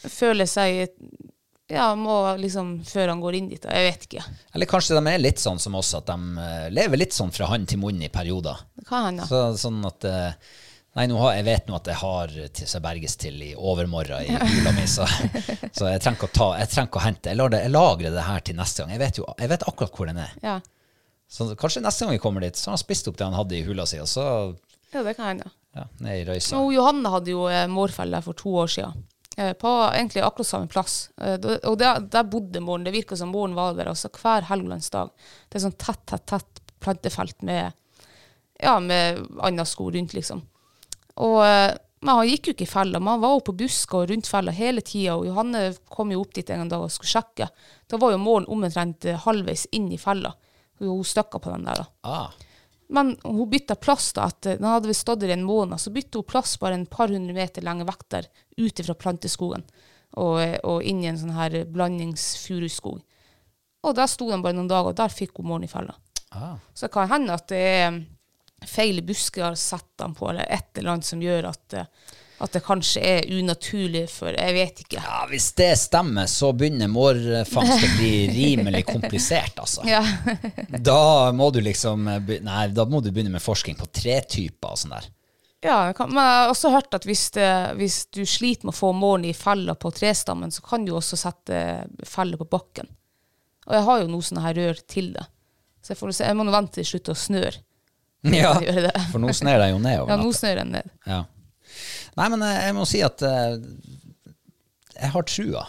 [SPEAKER 2] føle seg Ja, må liksom Før han går inn dit. da. Jeg vet ikke.
[SPEAKER 1] Eller kanskje de er litt sånn som oss, at de eh, lever litt sånn fra hand til munn i perioder.
[SPEAKER 2] Det kan hende.
[SPEAKER 1] Så, sånn at eh, Nei, nå har, jeg vet nå at jeg har til seg berges til i overmorgen i jula mi, så, så jeg trenger ikke å ta, jeg trenger ikke å hente. Jeg, lar det, jeg lagrer det her til neste gang. Jeg vet jo jeg vet akkurat hvor den er.
[SPEAKER 2] Ja.
[SPEAKER 1] Så kanskje neste gang vi kommer dit, så har han spist opp det han hadde i hula si, og så
[SPEAKER 2] ja, det kan hende.
[SPEAKER 1] ja, ned i røysa.
[SPEAKER 2] Men hun Johanne hadde jo eh, mårfelle for to år siden. Eh, på egentlig akkurat samme plass. Eh, da- og der, der bodde moren. Det virka som moren var der også hver helgelandsdag. Det er sånn tett, tett, tett plantefelt med, ja, med annen skog rundt, liksom. Og, eh, men han gikk jo ikke i fella, men han var jo på busker og rundt fella hele tida. Og Johanne kom jo opp dit en gang da og skulle sjekke. Da var jo målen omtrent eh, halvveis inn i fella. Hun, hun støkka på den der, da.
[SPEAKER 1] Ah,
[SPEAKER 2] Men hun bytta plass da etter Den hadde vi stått der i en måned, så bytta hun plass bare en par hundre meter lenger vekk der, ut ifra planteskogen og, og inn i en sånn her blandingsfuruskog. Og der sto den bare noen dager, og der fikk hun morgen i fella.
[SPEAKER 1] ah.
[SPEAKER 2] Så det kan hende at det er um, feil busker har satt den på, eller et eller annet som gjør at, eh, at det kanskje er unaturlig for Jeg vet ikke.
[SPEAKER 1] Ja, hvis det stemmer, så begynner mårfangst å bli rimelig komplisert, altså.
[SPEAKER 2] Ja.
[SPEAKER 1] Da må du liksom be- Nei, da må du begynne med forskning på tre typer og sånn der.
[SPEAKER 2] Ja, det kan, men jeg har også hørt at hvis, det, hvis du sliter med å få målen i fella på trestammen, så kan du også sette fella på bakken. Og jeg har jo noe sånne her rør til det. Så jeg, får se, jeg må nå vente til det slutter å snøre.
[SPEAKER 1] Ja,
[SPEAKER 2] Kan gjøre det.
[SPEAKER 1] for nå sner det jo nedover
[SPEAKER 2] Ja, nå
[SPEAKER 1] natta.
[SPEAKER 2] snør den ned.
[SPEAKER 1] Ja. Nei, men eh, jeg må si at eh, jeg har trua.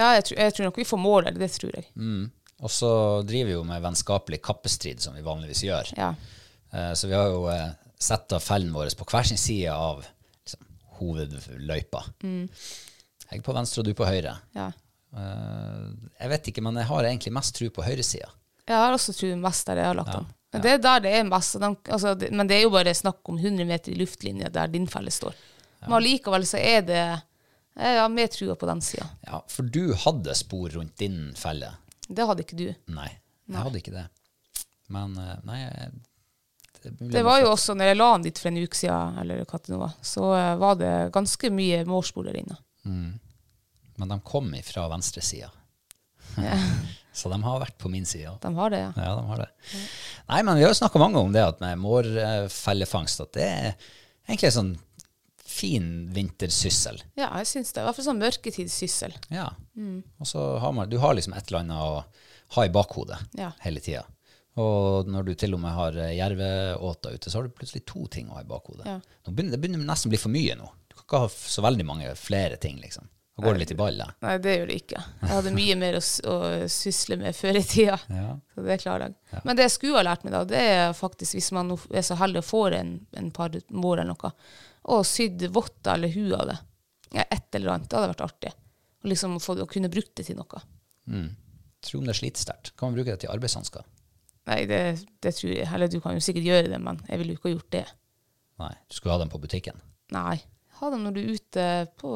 [SPEAKER 2] Ja, jeg, tror- jeg tror nok vi får mål der, det tror jeg.
[SPEAKER 1] Mm. Og så driver vi jo med vennskapelig kappestrid, som vi vanligvis gjør.
[SPEAKER 2] Ja.
[SPEAKER 1] Eh, Så vi har jo eh, satt av fellen vår på hver sin side av liksom, hovedløypa.
[SPEAKER 2] Mm.
[SPEAKER 1] Jeg på venstre og du på høyre.
[SPEAKER 2] ja.
[SPEAKER 1] Eh, jeg vet ikke, men jeg har egentlig mest tro på høyresida.
[SPEAKER 2] Jeg har også tror mest der jeg har lagt den. Men det er der det er mest. og De, altså, det, men det er jo bare snakk om 100 meter i luftlinje der din felle står. Men allikevel så er det Jeg har mer trua på den sida.
[SPEAKER 1] Ja, for du hadde spor rundt din felle.
[SPEAKER 2] Det hadde ikke du.
[SPEAKER 1] Nei, jeg hadde ikke det. Men eh, nei jeg, det, er mulig
[SPEAKER 2] Det
[SPEAKER 1] jeg må
[SPEAKER 2] var jo
[SPEAKER 1] flytte.
[SPEAKER 2] også, når jeg la han dit for en uke siden, eller hva det nå var, så eh, var det ganske mye mårspor der inne.
[SPEAKER 1] Men de kom fra venstresida. Så de har vært på min side.
[SPEAKER 2] De har det, ja.
[SPEAKER 1] Ja, de har det. Nei, men vi har jo snakka mange om det at med mårfellefangst, at det er egentlig en sånn fin vintersyssel.
[SPEAKER 2] Ja, jeg syns det. I hvert fall sånn mørketidssyssel.
[SPEAKER 1] Ja.
[SPEAKER 2] Mm.
[SPEAKER 1] Og så har man Du har liksom et eller annet å ha i bakhodet
[SPEAKER 2] Ja.
[SPEAKER 1] hele tida. Og når du til og med har eh, jerveåta ute, så har du plutselig to ting å ha i bakhodet.
[SPEAKER 2] Ja.
[SPEAKER 1] Nå begynner, det begynner nesten å bli for mye nå. Du kan ikke ha f- så veldig mange flere ting, liksom. Da går det litt i ball, da.
[SPEAKER 2] Nei, det gjør det ikke. Jeg hadde mye mer å, s- å sysle med før i tida.
[SPEAKER 1] Ja.
[SPEAKER 2] Så det klarer jeg. Men det jeg skulle ha lært meg, da, det er faktisk hvis man nå er så heldig og får en, en par mår eller noe, og sydd votter eller hue av det. Ja, et eller annet. Det hadde vært artig. Og liksom få, å kunne brukt det til noe.
[SPEAKER 1] Tror om det er slitsterkt. Kan man bruke det til arbeidshansker?
[SPEAKER 2] Nei, det, det tror jeg. Eller du kan jo sikkert gjøre det, men jeg ville jo ikke ha gjort det.
[SPEAKER 1] Nei, du skulle ha dem på butikken.
[SPEAKER 2] Nei. Ha dem når du er ute på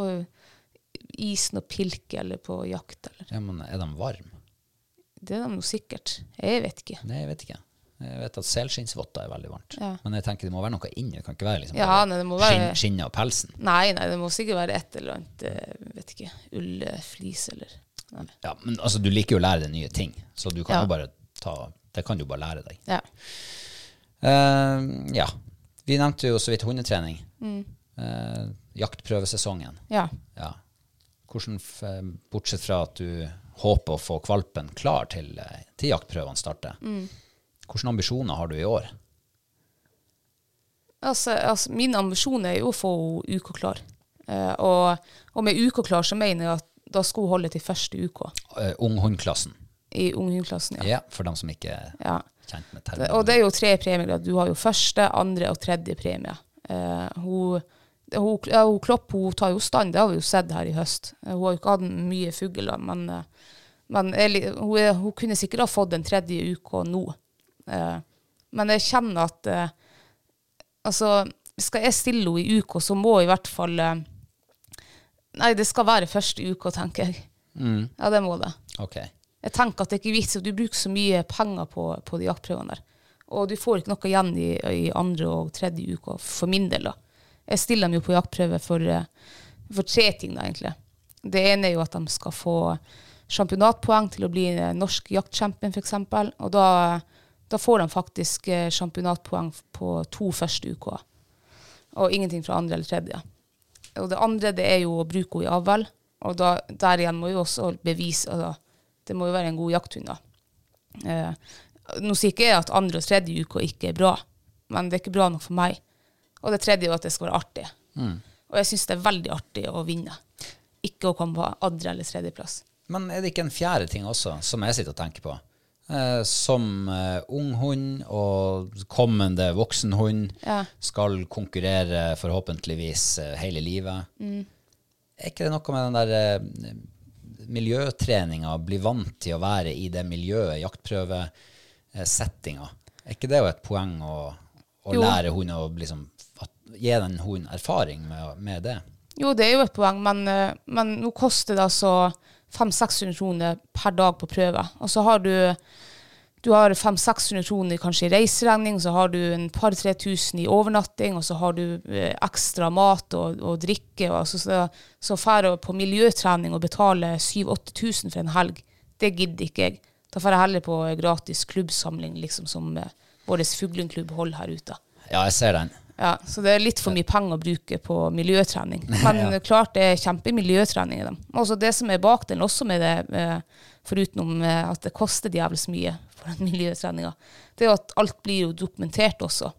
[SPEAKER 2] isen og pilker eller på jakt eller
[SPEAKER 1] Ja, men er de varme?
[SPEAKER 2] Det er de nå sikkert. Jeg vet ikke.
[SPEAKER 1] Nei, jeg vet ikke. Jeg vet at selskinnsvotter er veldig varmt.
[SPEAKER 2] Ja.
[SPEAKER 1] Men jeg tenker det må være noe inni. Det kan ikke være liksom
[SPEAKER 2] Ja,
[SPEAKER 1] bare
[SPEAKER 2] nei, det må være-
[SPEAKER 1] skinn- skinnet og pelsen.
[SPEAKER 2] Nei, nei, det må sikkert være et eller annet eh, vet ikke, ull, eh, flis eller nei.
[SPEAKER 1] Ja, men altså, du liker jo å lære deg nye ting, så du kan
[SPEAKER 2] Ja.
[SPEAKER 1] jo bare ta Det kan du bare lære deg.
[SPEAKER 2] Ja.
[SPEAKER 1] Eh, ja. Vi nevnte jo så vidt hundetrening.
[SPEAKER 2] Mm.
[SPEAKER 1] Eh, jaktprøvesesongen.
[SPEAKER 2] ja.
[SPEAKER 1] Ja. Hvordan, f bortsett fra at du håper å få kvalpen klar til, eh, til jaktprøvene starter,
[SPEAKER 2] Mm.
[SPEAKER 1] hvilke ambisjoner har du i år?
[SPEAKER 2] Altså, altså, min ambisjon er jo å få henne UK-klar. Eh, og, og med UK-klar så mener jeg at da skal hun holde til første UK
[SPEAKER 1] Uh, Unghundklassen.
[SPEAKER 2] i unghundklassen.
[SPEAKER 1] Ja.
[SPEAKER 2] Ja.
[SPEAKER 1] for dem som ikke er
[SPEAKER 2] Ja.
[SPEAKER 1] kjent med
[SPEAKER 2] Det-
[SPEAKER 1] termen.
[SPEAKER 2] Og det er jo tre premiegrader. Du har jo første, andre og tredje premie. Eh, hun, det- hun, ja, hun Klopp hun tar jo stand, det har vi jo sett her i høst. Eh, hun har jo ikke hatt mye fugler, men, eh, men jeg li- hun, er, hun kunne sikkert ha fått en tredje uke nå. Eh, men jeg kjenner at eh, altså, skal jeg stille henne i uka, så må i hvert fall eh, Nei, det skal være første uka, tenker jeg. Ja, det må det.
[SPEAKER 1] Ok.
[SPEAKER 2] Jeg tenker at det er ikke vits i at du bruker så mye penger på, på de jaktprøvene der. Og du får ikke noe igjen i, i andre og tredje uke, for min del. da. Jeg stiller dem jo på jaktprøve for, eh, for tre ting, da, egentlig. Det ene er jo at de skal få championatpoeng til å bli eh, norsk jaktchampion, f.eks. Og da, da får de faktisk eh, championatpoeng på to første uker. Og ingenting fra andre eller tredje. Og det andre det er jo å bruke henne i avl. Og da, der igjen må jo også bevise altså, Det må jo være en god jakthund, da. Eh, nå sier ikke jeg at andre og tredje uke ikke er bra, men det er ikke bra nok for meg. Og det tredje er jo at det skal være artig. Og jeg syns det er veldig artig å vinne. Ikke å komme på andre- eller tredjeplass.
[SPEAKER 1] Men er det ikke en fjerde ting også, som jeg sitter og tenker på? Eh, som eh, ung hund og kommende voksen hund
[SPEAKER 2] Ja.
[SPEAKER 1] skal konkurrere forhåpentligvis eh, hele livet.
[SPEAKER 2] Mm.
[SPEAKER 1] Er ikke det noe med den der eh, miljøtreninga, bli vant til å være i det miljøet, jaktprøvesettinga? Er ikke det jo et poeng å, å
[SPEAKER 2] Jo.
[SPEAKER 1] lære hund å liksom, at, gi den hunden erfaring med, med det?
[SPEAKER 2] Jo, det er jo et poeng, men, eh, men nå koster det altså 500-600 kroner per dag på prøve. Og så har du, du har 500-600 kroner kanskje i reiseregning, så har du en par-tre tusen i overnatting, og så har du eh, ekstra mat og, og drikke. Og så så- så drar jeg på miljøtrening og betaler 7000-8000 for en helg. Det gidder ikke jeg. Da drar jeg heller på gratis klubbsamling, liksom som eh, vår fugleklubb holder her ute.
[SPEAKER 1] Ja, jeg ser den.
[SPEAKER 2] Ja, så det er litt for mye penger å bruke på miljøtrening. Men klart det er kjempemiljøtrening i dem. Også det som er bak den, også med det, eh, foruten eh, at det koster djevelsk mye for den miljøtreninga, det er jo at alt blir jo dokumentert også.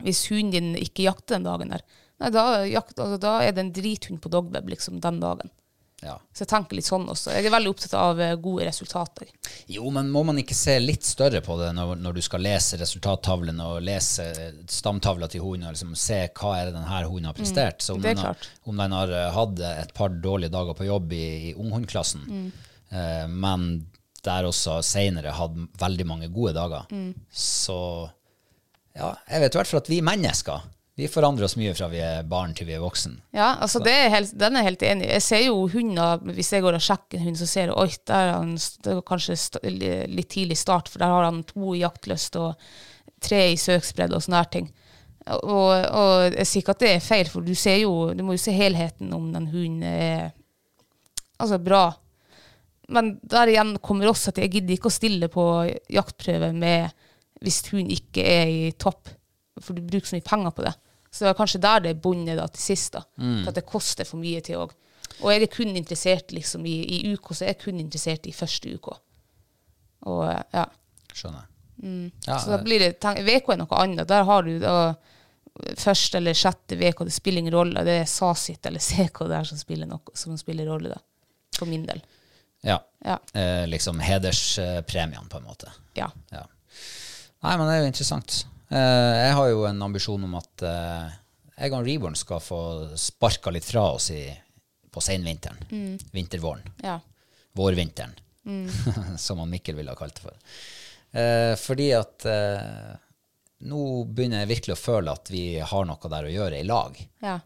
[SPEAKER 2] Hvis hunden din ikke jakter den dagen der, nei, da, er jakt, altså, da er det en drithund på dogweb liksom, den dagen.
[SPEAKER 1] Ja.
[SPEAKER 2] Så jeg tenker litt sånn også. Jeg er veldig opptatt av eh, gode resultater.
[SPEAKER 1] Jo, men må man ikke se litt større på det når, når du skal lese resultattavlen og lese stamtavla til hunden, og liksom se hva er det denne hunden har prestert? Så om,
[SPEAKER 2] Mm. det er
[SPEAKER 1] den har,
[SPEAKER 2] klart.
[SPEAKER 1] om den har eh, hatt et par dårlige dager på jobb i, i unghundklassen,
[SPEAKER 2] Mm.
[SPEAKER 1] eh, men der også senere hatt veldig mange gode dager,
[SPEAKER 2] Mm.
[SPEAKER 1] så ja, jeg vet i hvert fall at vi mennesker, vi forandrer oss mye fra vi er barn til vi er voksen.
[SPEAKER 2] Ja, altså det er helt, den er jeg helt enig i. Jeg ser jo hunder, hvis jeg går og sjekker en hund, så ser jeg oi, der er han st- det var kanskje st litt tidlig start, for der har han to i jaktlyst og tre i søksbredde og sånne her ting. Og, og jeg sier ikke at det er feil, for du, ser jo, du må jo se helheten om den hunden er altså, bra. Men der igjen kommer også at jeg gidder ikke å stille på jaktprøve med hvis hunden ikke er i topp, for du bruker så mye penger på det. Så det var kanskje der det bundet da til sist, da. For at det koster for mye til òg. Og jeg er kun interessert liksom, i, i UK, så jeg er kun interessert i første UK. Og ja. Mm.
[SPEAKER 1] Skjønner jeg. Ja, eh,
[SPEAKER 2] Så da blir det VK er noe annet. Der har du da første eller sjette uka. Det spiller ingen rolle. Det er Sasit eller CK der som spiller, noe, som spiller rolle, da. For min del.
[SPEAKER 1] Ja.
[SPEAKER 2] Ja.
[SPEAKER 1] Eh, liksom hederspremiene, på en måte.
[SPEAKER 2] ja.
[SPEAKER 1] Ja. Nei, men det er jo interessant. Eh, jeg har jo en ambisjon om at eh, jeg og Reborn skal få sparka litt fra oss i, på seinvinteren. Vintervåren.
[SPEAKER 2] ja.
[SPEAKER 1] Vårvinteren. Som han Mikkel ville ha kalt det for. Eh, fordi at eh, nå begynner jeg virkelig å føle at vi har noe der å gjøre i lag.
[SPEAKER 2] ja.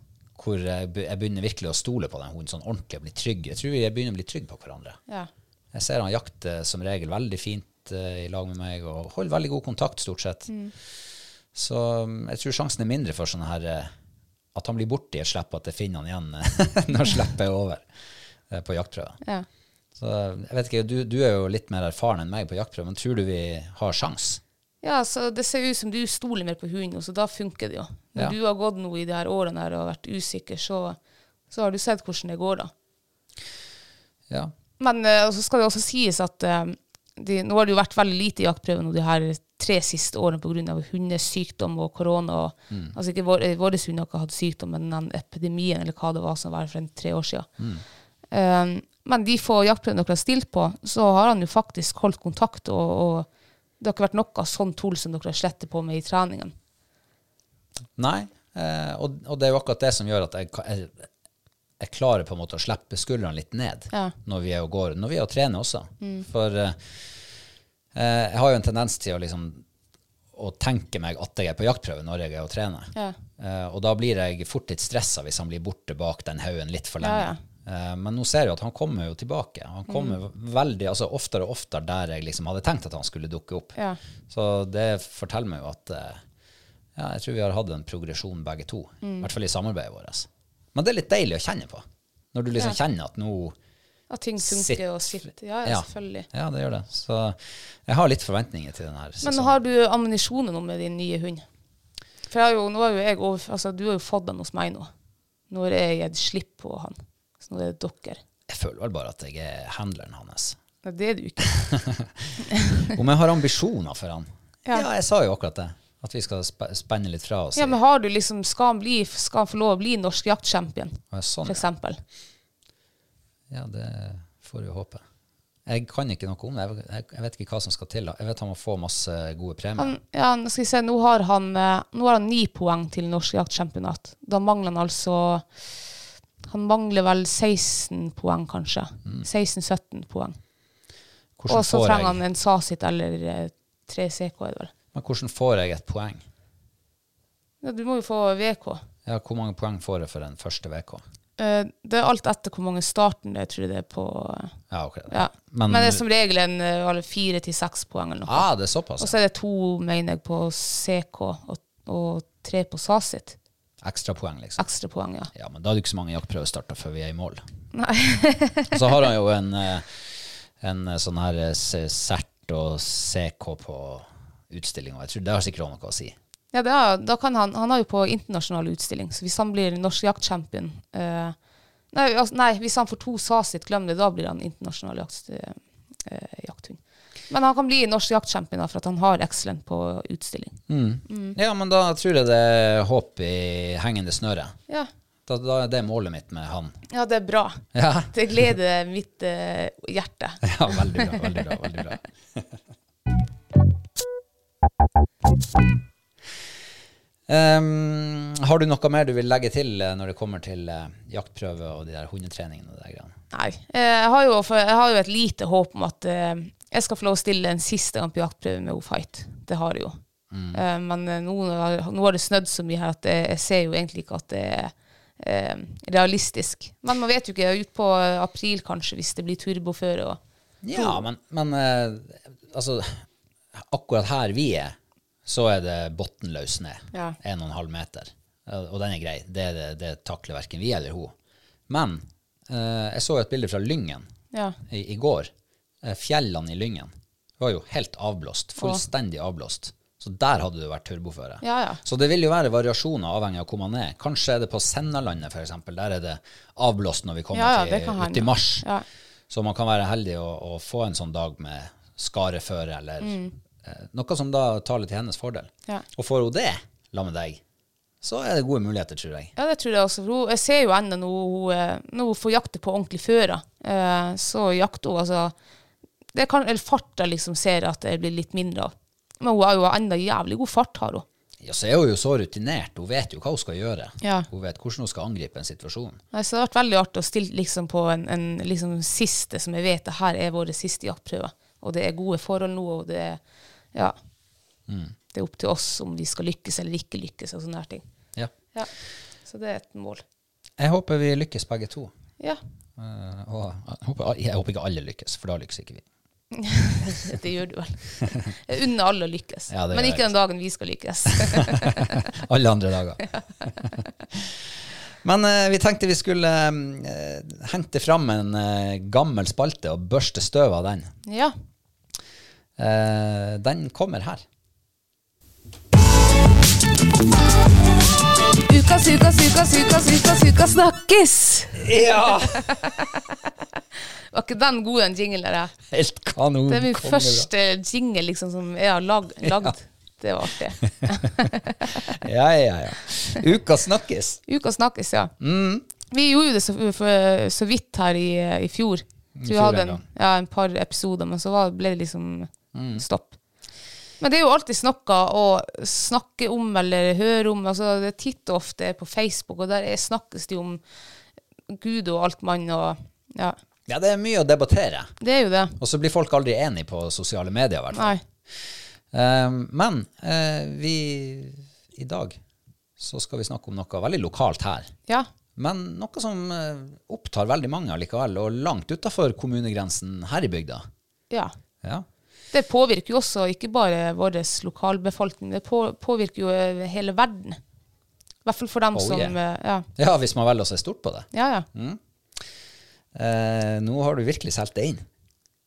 [SPEAKER 1] Hvor jeg be- jeg begynner virkelig å stole på den hunden sånn ordentlig og bli trygg. Jeg tror vi begynner å bli trygge på hverandre.
[SPEAKER 2] Ja.
[SPEAKER 1] Jeg ser han jakter som regel veldig fint eh, i lag med meg og holder veldig god kontakt stort sett. Så mm, jeg tror sjansen er mindre for sånn her eh, at han blir borti et slipp, at jeg finner han igjen eh, når slippet er over eh, på jaktprøven.
[SPEAKER 2] Ja.
[SPEAKER 1] Så eh, jeg vet ikke, du, du er jo litt mer erfaren enn meg på jaktprøven, men tror du vi har sjans?
[SPEAKER 2] Ja, så det ser ut som du stoler mer på hunden, og så da funker det jo.
[SPEAKER 1] Ja.
[SPEAKER 2] Når du har gått nå i de her årene her og vært usikker, så, så har du sett hvordan det går, da.
[SPEAKER 1] Ja.
[SPEAKER 2] Men eh, og så skal det også sies at eh, de, nå har det jo vært veldig lite jaktprøver nå de her tre siste årene pga. hundesykdom og korona. Og, Altså ikke vår, eh, våre hund har ikke hatt sykdom, men den epidemien eller hva det var som var for en tre år siden. Eh, men de få jaktprøvene dere har stilt på, så har han jo faktisk holdt kontakt, og, og det har ikke vært noe sånn tull som dere har slettet på med i treningen.
[SPEAKER 1] Nei, eh, og, og det er jo akkurat det som gjør at jeg, ka- jeg, jeg klarer på en måte å slippe skuldrene litt ned
[SPEAKER 2] Ja. Mm.
[SPEAKER 1] når vi er og går, når vi er og trener også. For eh, eh, jeg har jo en tendens til å liksom å tenke meg at jeg er på jaktprøve når jeg er og trener.
[SPEAKER 2] Ja.
[SPEAKER 1] Eh, og da blir jeg fort litt stressa hvis han blir borte bak den haugen litt for lenge.
[SPEAKER 2] Ja, ja.
[SPEAKER 1] Eh, men nå ser jeg jo at han kommer jo tilbake. Han kommer
[SPEAKER 2] Mm.
[SPEAKER 1] veldig, altså oftere og oftere der jeg liksom hadde tenkt at han skulle dukke opp.
[SPEAKER 2] Ja.
[SPEAKER 1] Så det forteller meg jo at eh, ja, jeg tror vi har hatt en progresjon begge to.
[SPEAKER 2] Mm.
[SPEAKER 1] I hvert fall i samarbeidet vårt. Men det er litt deilig å kjenne på. Når du liksom kjenner at nå
[SPEAKER 2] At ting funker
[SPEAKER 1] Sitt-
[SPEAKER 2] og sitter. Ja, ja, selvfølgelig.
[SPEAKER 1] Ja, det gjør det. Så jeg har litt forventninger til denne
[SPEAKER 2] Men
[SPEAKER 1] sesongen.
[SPEAKER 2] har du ammunisjonen nå med din nye hund? For jeg har jo, nå har jo jeg over, altså, du har jo fått den hos meg nå. Nå har jeg gitt slipp på han. Så nå er det dere.
[SPEAKER 1] Jeg føler vel bare at jeg er handleren hans.
[SPEAKER 2] Nei, det er du ikke.
[SPEAKER 1] Om jeg har ambisjoner for han? Ja,
[SPEAKER 2] Ja.
[SPEAKER 1] jeg sa jo akkurat det. At vi skal spe- spenne litt fra oss.
[SPEAKER 2] Ja, men har du liksom, skal han, bli, skal han få lov å bli norsk jaktchampion,
[SPEAKER 1] Ja, sånn,
[SPEAKER 2] for
[SPEAKER 1] ja.
[SPEAKER 2] eksempel?
[SPEAKER 1] ja, det får vi håpe. Jeg kan ikke noe om det. Jeg- Jeg jeg vet ikke hva som skal til. da. Jeg vet han må få masse gode premier.
[SPEAKER 2] Han, ja, nå skal vi se, nå har han, eh, nå har han ni poeng til norsk jaktchampionat. Da mangler han altså, han mangler vel 16 poeng kanskje. 16-17 poeng.
[SPEAKER 1] Hvordan
[SPEAKER 2] Og så
[SPEAKER 1] får jeg-
[SPEAKER 2] trenger han en sasit eller eh, 3CK er det vel.
[SPEAKER 1] Men hvordan får jeg et poeng?
[SPEAKER 2] Ja, du må jo få VK.
[SPEAKER 1] Ja, hvor mange poeng får jeg for den første VK?
[SPEAKER 2] Eh, Det er alt etter hvor mange starten det er, tror jeg det er på eh,
[SPEAKER 1] Ja, ok.
[SPEAKER 2] ja.
[SPEAKER 1] Men-
[SPEAKER 2] Men, det er som regel en eh, alle fire til seks poeng eller noe.
[SPEAKER 1] Ah, det er såpass.
[SPEAKER 2] Og
[SPEAKER 1] ja.
[SPEAKER 2] så er det to, mener jeg, på CK og, og tre på Sasit.
[SPEAKER 1] Ekstra poeng, liksom.
[SPEAKER 2] Ekstrapoeng, ja.
[SPEAKER 1] Ja, men da er det ikke så mange jaktprøver starta før vi er i mål.
[SPEAKER 2] Nei.
[SPEAKER 1] Og så har han jo en, eh, en eh, sånn her eh, se- CERT og CK på utstillinga. Jeg tror det har sikkert også noe å si.
[SPEAKER 2] Ja, det er, da kan han, han har jo på internasjonal utstilling, så hvis han blir norsk jaktchampion eh, nei, altså, nei, hvis han får to Sasit, glem det, da blir han internasjonal jakt, eh, jakthund. Men han kan bli norsk jaktchampion da, for at han har excellent på utstilling. Mm.
[SPEAKER 1] Ja, men da tror jeg det er håp i hengende snøre.
[SPEAKER 2] Ja.
[SPEAKER 1] Da, da er det målet mitt med han.
[SPEAKER 2] ja, det er bra.
[SPEAKER 1] Ja,
[SPEAKER 2] Det gleder mitt eh, hjerte.
[SPEAKER 1] ja veldig bra, veldig bra, veldig bra. Ehm, har du noe mer du vil legge til eh, når det kommer til eh, jaktprøve og de der hundetreningene og de der greiene?
[SPEAKER 2] Nei. eh, Jeg har, jo, for jeg har jo et lite håp om at eh, jeg skal få lov å stille en siste gang på jaktprøve med O-Fight. Det har jeg jo. Eh, men eh, nå, har- nå har det snødd så mye her at jeg, jeg ser jo egentlig ikke at det er eh, realistisk. Men man vet jo ikke. Utpå april, kanskje, hvis det blir turboføre. og-
[SPEAKER 1] Ja, men, men eh, altså Akkurat her vi er, så er det bunnløs ned.
[SPEAKER 2] Ja.
[SPEAKER 1] En og en halv meter. Eh, Og den er grei. Det, det, det takler verken vi eller hun. Men eh, jeg så jo et bilde fra Lyngen
[SPEAKER 2] Ja.
[SPEAKER 1] i, i går. Eh, Fjellene i Lyngen var jo helt avblåst. Fullstendig avblåst. Så der hadde det vært turboføre.
[SPEAKER 2] Ja, ja.
[SPEAKER 1] Så det vil jo være variasjoner avhengig av hvor man er. Kanskje er det på Sennalandet f.eks. Der er det avblåst når vi kommer
[SPEAKER 2] Ja, ja, det kan
[SPEAKER 1] til,
[SPEAKER 2] hende.
[SPEAKER 1] ut i mars.
[SPEAKER 2] Ja.
[SPEAKER 1] Så man kan være heldig å, å få en sånn dag med skareføre eller eh, noe som da taler til hennes fordel.
[SPEAKER 2] Mm. Ja.
[SPEAKER 1] Og får hun det la med deg, så er det gode muligheter, tror jeg.
[SPEAKER 2] Ja, det tror jeg også. For hun, jeg ser jo henne når hun, eh, når hun får jakte på ordentlig fører. Eh, så jakter hun, altså det kan, Eller farta liksom ser jeg at det blir litt mindre av. Men hun har jo enda jævlig god fart, har hun.
[SPEAKER 1] Ja, så er hun jo så rutinert. Hun vet jo hva hun skal gjøre.
[SPEAKER 2] Ja.
[SPEAKER 1] Hun vet hvordan hun skal angripe en situasjon.
[SPEAKER 2] Nei, så det har vært veldig artig å stille liksom på en, en liksom siste som jeg vet det her er våre siste jaktprøver. Og det er gode forhold nå, og det er Ja. Det er opp til oss om vi skal lykkes eller ikke lykkes, og sånne her ting.
[SPEAKER 1] Ja.
[SPEAKER 2] Ja. Så det er et mål.
[SPEAKER 1] Jeg håper vi lykkes begge to.
[SPEAKER 2] Ja.
[SPEAKER 1] Eh, og jeg håper, jeg håper ikke alle lykkes, for da lykkes ikke vi.
[SPEAKER 2] Det gjør du vel. Jeg unner alle å lykkes.
[SPEAKER 1] Ja, det
[SPEAKER 2] Men
[SPEAKER 1] gjør
[SPEAKER 2] ikke
[SPEAKER 1] jeg.
[SPEAKER 2] den dagen vi skal lykkes.
[SPEAKER 1] Alle andre dager. Men eh, vi tenkte vi skulle eh, hente fram en eh, gammel spalte og børste støv av den.
[SPEAKER 2] ja.
[SPEAKER 1] Eh, den kommer her.
[SPEAKER 2] Ukas, ukas, ukas, ukas, ukas, ukas snakkes!
[SPEAKER 1] Ja!
[SPEAKER 2] Var ikke den god, den jinglen der? ja?
[SPEAKER 1] Helt kanon.
[SPEAKER 2] Det er min
[SPEAKER 1] kongebra.
[SPEAKER 2] første jingle liksom, som jeg har lag lagd. Det var artig.
[SPEAKER 1] Ja, ja, ja. Uka snakkes.
[SPEAKER 2] Ukas snakkes, ja.
[SPEAKER 1] Mm.
[SPEAKER 2] Vi gjorde jo det så, for, så vidt her i, i fjor. Så vi
[SPEAKER 1] fjor
[SPEAKER 2] hadde
[SPEAKER 1] en
[SPEAKER 2] en,
[SPEAKER 1] gang.
[SPEAKER 2] ja, en par episoder, men så var, ble det liksom
[SPEAKER 1] Mm.
[SPEAKER 2] stopp. Men det er jo alltid noe å snakke om eller høre om. Altså, det er titt og ofte på Facebook, og der er- snakkes det jo om Gud og alt mann og Ja.
[SPEAKER 1] Ja, det er mye å debattere.
[SPEAKER 2] Det er jo det.
[SPEAKER 1] Og så blir folk aldri enige på sosiale medier, i hvert fall.
[SPEAKER 2] Nei.
[SPEAKER 1] Eh, men eh, vi I dag så skal vi snakke om noe veldig lokalt her.
[SPEAKER 2] Ja.
[SPEAKER 1] Men noe som eh, opptar veldig mange allikevel, og langt utafor kommunegrensen her i bygda.
[SPEAKER 2] ja.
[SPEAKER 1] Ja.
[SPEAKER 2] Det påvirker jo også ikke bare vår lokalbefolkning, det på, påvirker jo eh, hele verden. I hvert fall for dem
[SPEAKER 1] Oh,
[SPEAKER 2] som
[SPEAKER 1] yeah.
[SPEAKER 2] eh, ja.
[SPEAKER 1] ja, hvis man velger å se stort på det.
[SPEAKER 2] Ja, ja.
[SPEAKER 1] Eh, nå har du virkelig solgt det inn.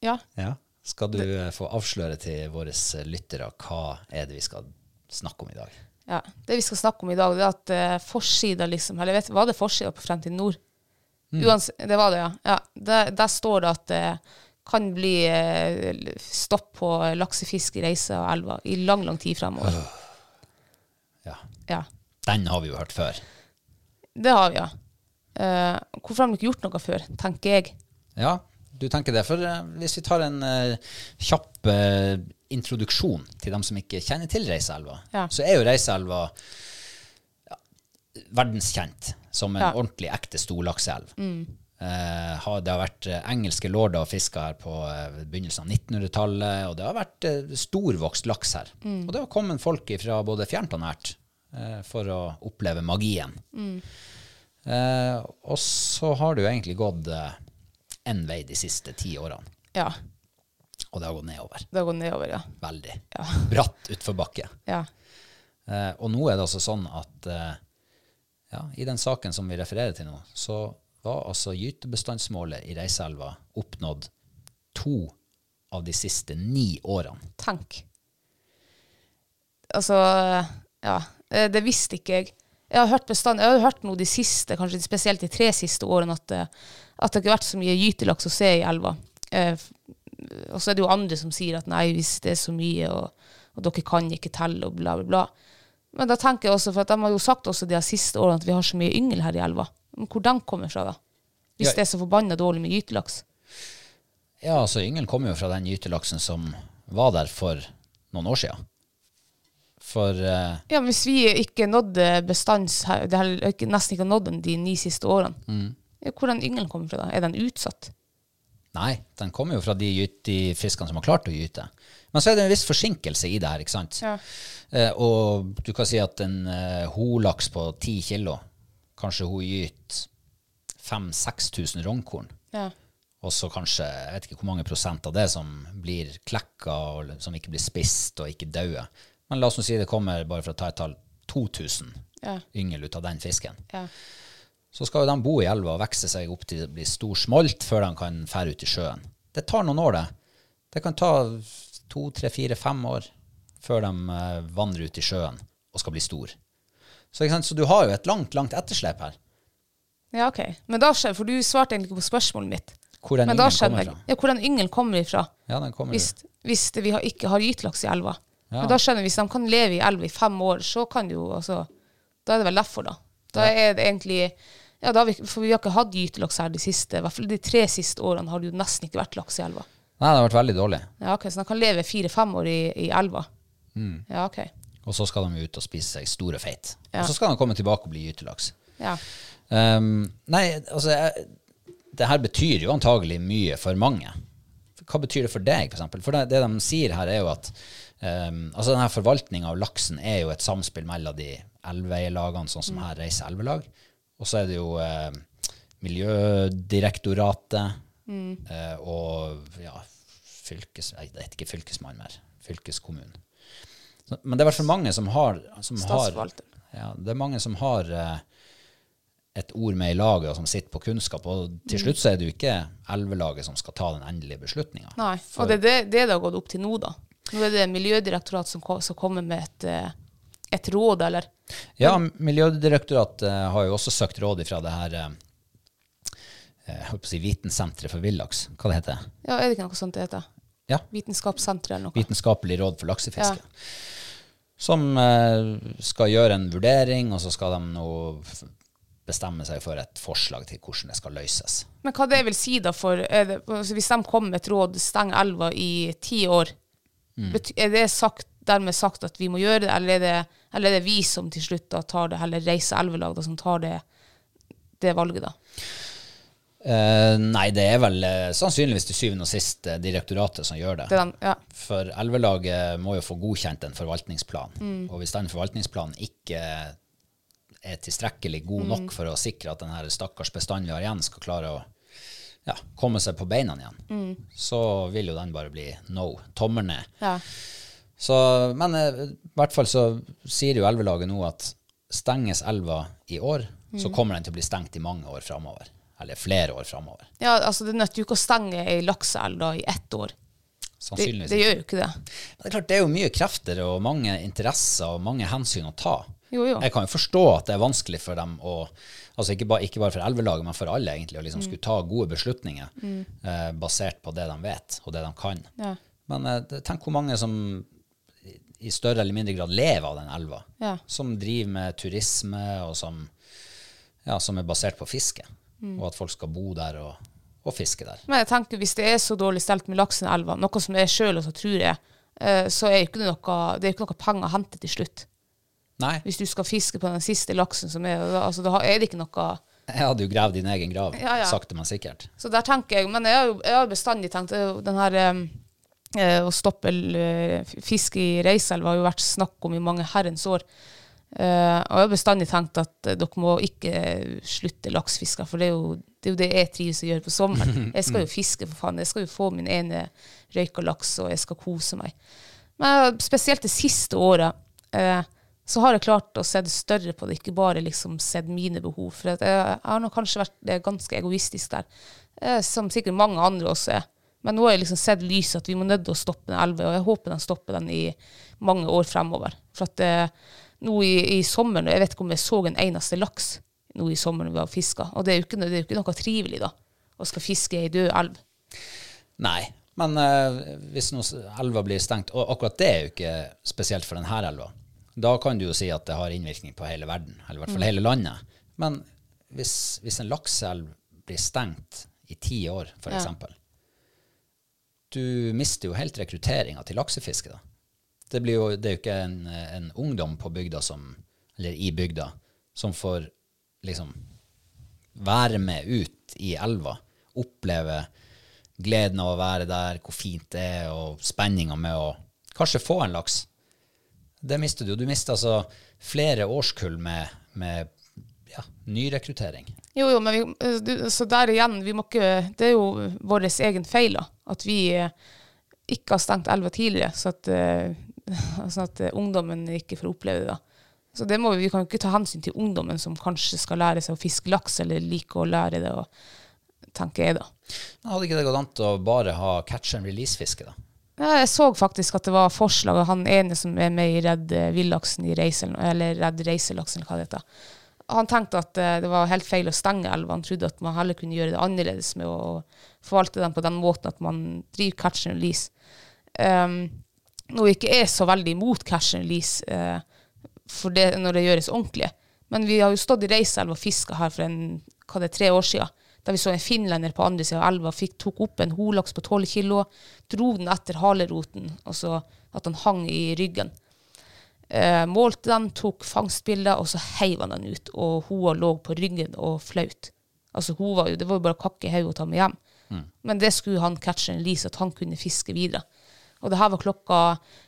[SPEAKER 2] ja.
[SPEAKER 1] Ja. Skal du eh, få avsløre til våre lyttere hva er det vi skal snakke om i dag?
[SPEAKER 2] Ja. Det vi skal snakke om i dag, det er at eh, forsida liksom Eller vet, var det forsida på Fremtid Nord? Uans- det var det, ja. ja der, der står det at det kan bli eh, stopp på laksefisk i Reisa og elva i lang, lang tid fremover.
[SPEAKER 1] Ja.
[SPEAKER 2] Ja.
[SPEAKER 1] Den har vi jo hørt før.
[SPEAKER 2] Det har vi, ja. Eh, hvorfor har de ikke gjort noe før, tenker jeg.
[SPEAKER 1] Ja, du tenker det. For eh, hvis vi tar en eh, kjapp eh, introduksjon til dem som ikke kjenner til Reiseelva,
[SPEAKER 2] Ja.
[SPEAKER 1] så er jo Reiseelva ja, verdenskjent som en
[SPEAKER 2] Ja. Mm.
[SPEAKER 1] ordentlig ekte storlakseelv. Eh, har- det har vært eh, engelske lorder og fisker her på eh, begynnelsen av 1900-tallet, og det har vært eh, storvokst laks her.
[SPEAKER 2] Mm.
[SPEAKER 1] Og det har kommet folk fra både fjernt og nært eh, for å oppleve magien. Eh, og så har det jo egentlig gått eh, en vei de siste ti årene,
[SPEAKER 2] Ja.
[SPEAKER 1] og det har gått nedover.
[SPEAKER 2] Det har gått nedover, ja.
[SPEAKER 1] Veldig.
[SPEAKER 2] Ja.
[SPEAKER 1] Bratt utforbakke.
[SPEAKER 2] ja.
[SPEAKER 1] Eh, og nå er det altså sånn at eh, ja, i den saken som vi refererer til nå, så var altså gytebestandsmålet i Reiseelva oppnådd to av de siste ni årene.
[SPEAKER 2] Tenk. Altså, ja. eh, Det visste ikke jeg. Jeg har hørt, bestand, jeg har hørt noe de siste, kanskje spesielt de tre siste årene, at, eh, at det ikke har vært så mye gytelaks å se i elva. Eh, f- og så er det jo andre som sier at nei, hvis det er så mye, og, og dere kan ikke telle, og bla, bla, bla. Men da tenker jeg også, for at de har jo sagt også de her siste årene at vi har så mye yngel her i elva. Men Hvor de kommer fra, da? Hvis
[SPEAKER 1] Ja.
[SPEAKER 2] det er så forbanna dårlig med gytelaks?
[SPEAKER 1] Ja, altså yngelen kommer jo fra den gytelaksen som var der for noen år siden. For eh,
[SPEAKER 2] Ja, men hvis vi ikke nådde bestands det har ikke- nesten ikke nådd den de ni siste årene,
[SPEAKER 1] Mm.
[SPEAKER 2] ja, hvor den yngelen kommer fra da? Er den utsatt?
[SPEAKER 1] Nei, den kommer jo fra de, gyt- de fiskene som har klart å gyte. Men så er det en viss forsinkelse i det her, ikke sant?
[SPEAKER 2] Ja.
[SPEAKER 1] Eh, og du kan si at en eh, holaks på 10 kilo, kanskje hun gyter 5000-6000 rognkorn.
[SPEAKER 2] Ja.
[SPEAKER 1] Og så kanskje, jeg vet ikke hvor mange prosent av det som blir klekka, og som ikke blir spist og ikke daue. Men la oss nå si det kommer, bare for å ta et tall, 2000
[SPEAKER 2] Ja.
[SPEAKER 1] yngel ut av den fisken.
[SPEAKER 2] Ja.
[SPEAKER 1] Så skal jo de bo i elva og vokse seg opp til å bli stor smolt før de kan fære ut i sjøen. Det tar noen år, det. Det kan ta to, tre, fire, fem år før de eh, vandrer ut i sjøen og skal bli stor. Så, ikke sant? så du har jo et langt, langt etterslep her.
[SPEAKER 2] ja, ok. Men da skjer, for du svarte egentlig ikke på spørsmålet mitt.
[SPEAKER 1] Hvor den
[SPEAKER 2] men da
[SPEAKER 1] yngelen
[SPEAKER 2] skjønner
[SPEAKER 1] kommer
[SPEAKER 2] jeg.
[SPEAKER 1] fra.
[SPEAKER 2] Ja, hvor den yngelen kommer ifra.
[SPEAKER 1] Ja, den kommer
[SPEAKER 2] Hvis, hvis det- vi har, ikke har gytelaks i elva.
[SPEAKER 1] Ja.
[SPEAKER 2] Men da skjønner jeg, hvis de kan leve i elva i fem år, så kan det jo altså Da er det vel derfor, da. Da er det egentlig ja, da har vi, For vi har ikke hatt gytelaks her de siste, i hvert fall de tre siste årene har det jo nesten ikke vært laks i elva.
[SPEAKER 1] Nei, det har vært veldig dårlig.
[SPEAKER 2] Ja, ok, Så de kan leve fire-fem år i, i elva. Ja, ok.
[SPEAKER 1] Og så skal de ut og spise seg store feit.
[SPEAKER 2] Ja.
[SPEAKER 1] Og så skal de komme tilbake og bli gytelaks.
[SPEAKER 2] Ja.
[SPEAKER 1] Ehm, nei, altså jeg, Det her betyr jo antagelig mye for mange. Hva betyr det for deg, f.eks.? For, eksempel? for det, det de sier her, er jo at um, altså denne forvaltninga av laksen er jo et samspill mellom de elveeierlagene, sånn som her reiser elvelag, og så er det jo eh, Miljødirektoratet eh, og ja, fylkes... Nei, det heter ikke fylkesmann mer. Fylkeskommunen. Så- Men det er i hvert fall mange som har, som har
[SPEAKER 2] Statsforvalter.
[SPEAKER 1] ja, Det er mange som har eh, et ord med i laget, og som sitter på kunnskap. Og til slutt så er det jo ikke elvelaget som skal ta den endelige beslutninga.
[SPEAKER 2] Nei. Og det er det, det det har gått opp til nå, da. Nå er det Miljødirektoratet som, ko- som kommer med et, eh, et råd, eller
[SPEAKER 1] Ja, Miljødirektoratet eh, har jo også søkt råd ifra det her eh, eh, jeg holdt på å si Vitensenteret for villaks. Hva det heter det?
[SPEAKER 2] Ja, er det ikke noe sånt det heter?
[SPEAKER 1] Ja.
[SPEAKER 2] Vitenskapssenteret eller noe?
[SPEAKER 1] Vitenskapelig råd for laksefiske. Som eh, skal gjøre en vurdering, og så skal de nå f- bestemme seg for et forslag til hvordan det skal løses.
[SPEAKER 2] Men hva det vil si da for er det, altså Hvis de kommer med et råd, steng elva i ti år, bety- er det sagt, dermed sagt at vi må gjøre det, eller er det, eller er det vi som til slutt da tar det, eller reiser elvelag da, som tar det, det valget, da?
[SPEAKER 1] Eh, nei, det er vel eh, sannsynligvis til syvende og sist eh, direktoratet som gjør det.
[SPEAKER 2] Det er den, ja.
[SPEAKER 1] For elvelaget må jo få godkjent en forvaltningsplan.
[SPEAKER 2] Mm.
[SPEAKER 1] Og hvis den forvaltningsplanen ikke er tilstrekkelig god
[SPEAKER 2] Mm.
[SPEAKER 1] nok for å sikre at den her stakkars bestanden vi har igjen, skal klare å ja, komme seg på beina igjen,
[SPEAKER 2] Mm.
[SPEAKER 1] så vil jo den bare bli no. Tommel ned.
[SPEAKER 2] ja.
[SPEAKER 1] Så, men eh, i hvert fall så sier jo elvelaget nå at stenges elva i år,
[SPEAKER 2] Mm.
[SPEAKER 1] så kommer den til å bli stengt i mange år framover. Eller flere år framover.
[SPEAKER 2] Ja, altså Det nytter jo ikke å stenge ei lakseelv da i ett år. Det,
[SPEAKER 1] Sannsynligvis.
[SPEAKER 2] det gjør jo ikke det.
[SPEAKER 1] Men det er klart, det er jo mye krefter og mange interesser og mange hensyn å ta.
[SPEAKER 2] Jo, jo.
[SPEAKER 1] Jeg kan jo forstå at det er vanskelig for dem å altså ikke, ba, ikke bare for elvelaget, men for alle egentlig, å
[SPEAKER 2] Mm.
[SPEAKER 1] liksom skulle ta gode beslutninger eh, basert på det de vet og det de kan.
[SPEAKER 2] Ja.
[SPEAKER 1] Men eh, det- tenk hvor mange som i- i større eller mindre grad lever av den elva,
[SPEAKER 2] Ja.
[SPEAKER 1] som driver med turisme og som, ja, som er basert på fiske,
[SPEAKER 2] Mm.
[SPEAKER 1] og at folk skal bo der og, og fiske der.
[SPEAKER 2] Men jeg tenker hvis det er så dårlig stelt med laksen i elva, noe som jeg sjøl også tror er, eh, så er jo ikke det noe, det er jo ikke noe penger å hente til slutt.
[SPEAKER 1] Nei,
[SPEAKER 2] Hvis du skal fiske på den siste laksen som er, da- altså, da har- er det ikke noe
[SPEAKER 1] jeg hadde jo gravd din egen grav,
[SPEAKER 2] Ja, ja.
[SPEAKER 1] sakte men sikkert.
[SPEAKER 2] Så der tenker jeg, men jeg har jo jeg har jo bestandig tenkt det er jo den her em, eh, å stoppe eh, f- fiske i Reiselva har jo vært snakk om i mange herrens år. Eh, og jeg har bestandig tenkt at eh, dere må ikke eh, slutte laksefiske, for det er, jo, det er jo det jeg trives å gjøre på sommeren. Jeg skal jo fiske, for faen. Jeg skal jo få min ene røyka laks, og jeg skal kose meg. Men spesielt det siste året eh, så har jeg klart å se det større på det, ikke bare liksom sett mine behov. For at jeg, jeg har nok kanskje vært eh, ganske egoistisk der, eh, som sikkert mange andre også er. Men nå har jeg liksom sett lyset, at vi må nødt til å stoppe den elva, og jeg håper den stopper den i mange år fremover. For at eh, nå i, i sommeren, og jeg vet ikke om jeg så en eneste laks nå i sommeren vi har fiska, og det er, jo ikke, no- det er jo ikke noe trivelig da, å skal fiske i død elv.
[SPEAKER 1] Nei, men eh, hvis nå s- elva blir stengt, og akkurat det er jo ikke spesielt for denne elva, da kan du jo si at det har innvirkning på hele verden, eller i hvert fall hele landet. Men hvis, hvis en lakseelv blir stengt i ti år, for eksempel, du mister jo helt rekrutteringen til laksefiske da. Det, blir jo, det er jo ikke en, en ungdom på bygda som, eller i bygda, som får liksom være med ut i elva, oppleve gleden av å være der, hvor fint det er, og spenninga med å kanskje få en laks. Det mister du. Du mister altså flere årskull med, med ja, nyrekruttering.
[SPEAKER 2] Jo, jo, men vi, eh, du- så der igjen, vi må ikke, det er jo vår egen feil da, at vi eh, ikke har stengt elva tidligere, så at, eh, sånn at eh, ungdommen ikke får oppleve det da. Så det må vi, vi kan jo ikke ta hensyn til ungdommen som kanskje skal lære seg å fiske laks, eller liker å lære det, og, tenker jeg da.
[SPEAKER 1] Men Hadde ikke det gått an til å bare ha catch and release-fiske, da?
[SPEAKER 2] Ja, jeg så faktisk at det var forslag av han ene som er med i Redd eh, Villaksen, i Reisel, eller Redd Reiselaksen, eller hva det heter. Han tenkte at eh, det var helt feil å stenge elva. Han trodde at man heller kunne gjøre det annerledes med å forvalte den på den måten at man driver catch and release. Ehm, nå er ikke jeg så veldig imot catch and release, eh, for det, når det gjøres ordentlig. Men vi har jo stått i Reiselva og fiska her for en, hva det er, tre år siden. Da vi så en finlender på andre sida av elva, fikk, tok opp en holaks på tolv kilo, dro den etter haleroten, altså at han hang i ryggen. Eh, målte den, tok fangstbilder, og så heiv han den ut. Og hoa lå på ryggen og flaut. Altså, hun var jo, Det var jo bare å kakke i hodet og ta med hjem. Men det skulle han catcheren Elise, at han kunne fiske videre. Og det her var klokka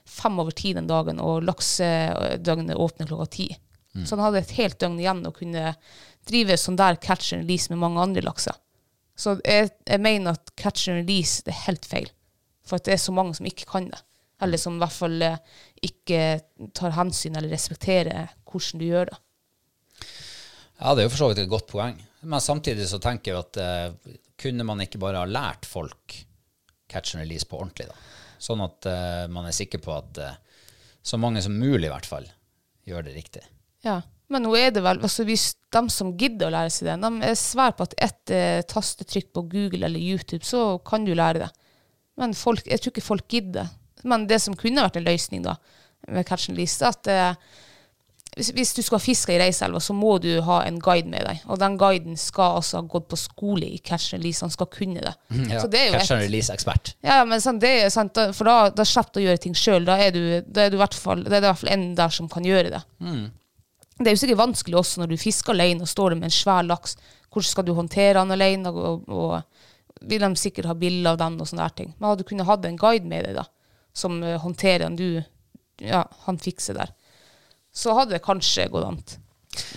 [SPEAKER 2] fem over ti den dagen, og laksedøgnet åpner klokka ti. Så han hadde et helt døgn igjen å kunne drive sånn der catch and release med mange andre lakser. Så jeg, jeg mener at catch and release det er helt feil. For at det er så mange som ikke kan det. Eller som i hvert fall eh, ikke tar hensyn eller respekterer hvordan du gjør det.
[SPEAKER 1] Ja, det er jo for så vidt et godt poeng. Men samtidig så tenker jeg at eh, kunne man ikke bare ha lært folk catch and release på ordentlig, da? Sånn at eh, man er sikker på at eh, så mange som mulig i hvert fall gjør det riktig.
[SPEAKER 2] Ja, men nå er det vel altså hvis De som gidder å lære seg det, de er svære på at ett eh, tastetrykk på Google eller YouTube, så kan du lære det. Men folk, jeg tror ikke folk gidder. Men det som kunne vært en løsning da, med catch and release, er at eh, hvis, hvis du skal fiske i Reiselva, så må du ha en guide med deg. Og den guiden skal altså ha gått på skole i catch and release, han skal kunne det.
[SPEAKER 1] Ja,
[SPEAKER 2] Så det er jo
[SPEAKER 1] catch and
[SPEAKER 2] et-
[SPEAKER 1] release-ekspert.
[SPEAKER 2] ja, ja, men sant, det er sant, da- for da, da slipper du å gjøre ting sjøl. Da er, du, da er du i hvert fall, det er det i hvert fall en der som kan gjøre det. Det er jo sikkert vanskelig også når du fisker alene og står der med en svær laks. Hvordan skal du håndtere den alene? Og, og, og vil de sikkert ha bilder av den og sånne der ting. Men hadde du kunnet hatt en guide med deg da, som eh, håndterer den du ja, han fikser der, så hadde det kanskje gått an.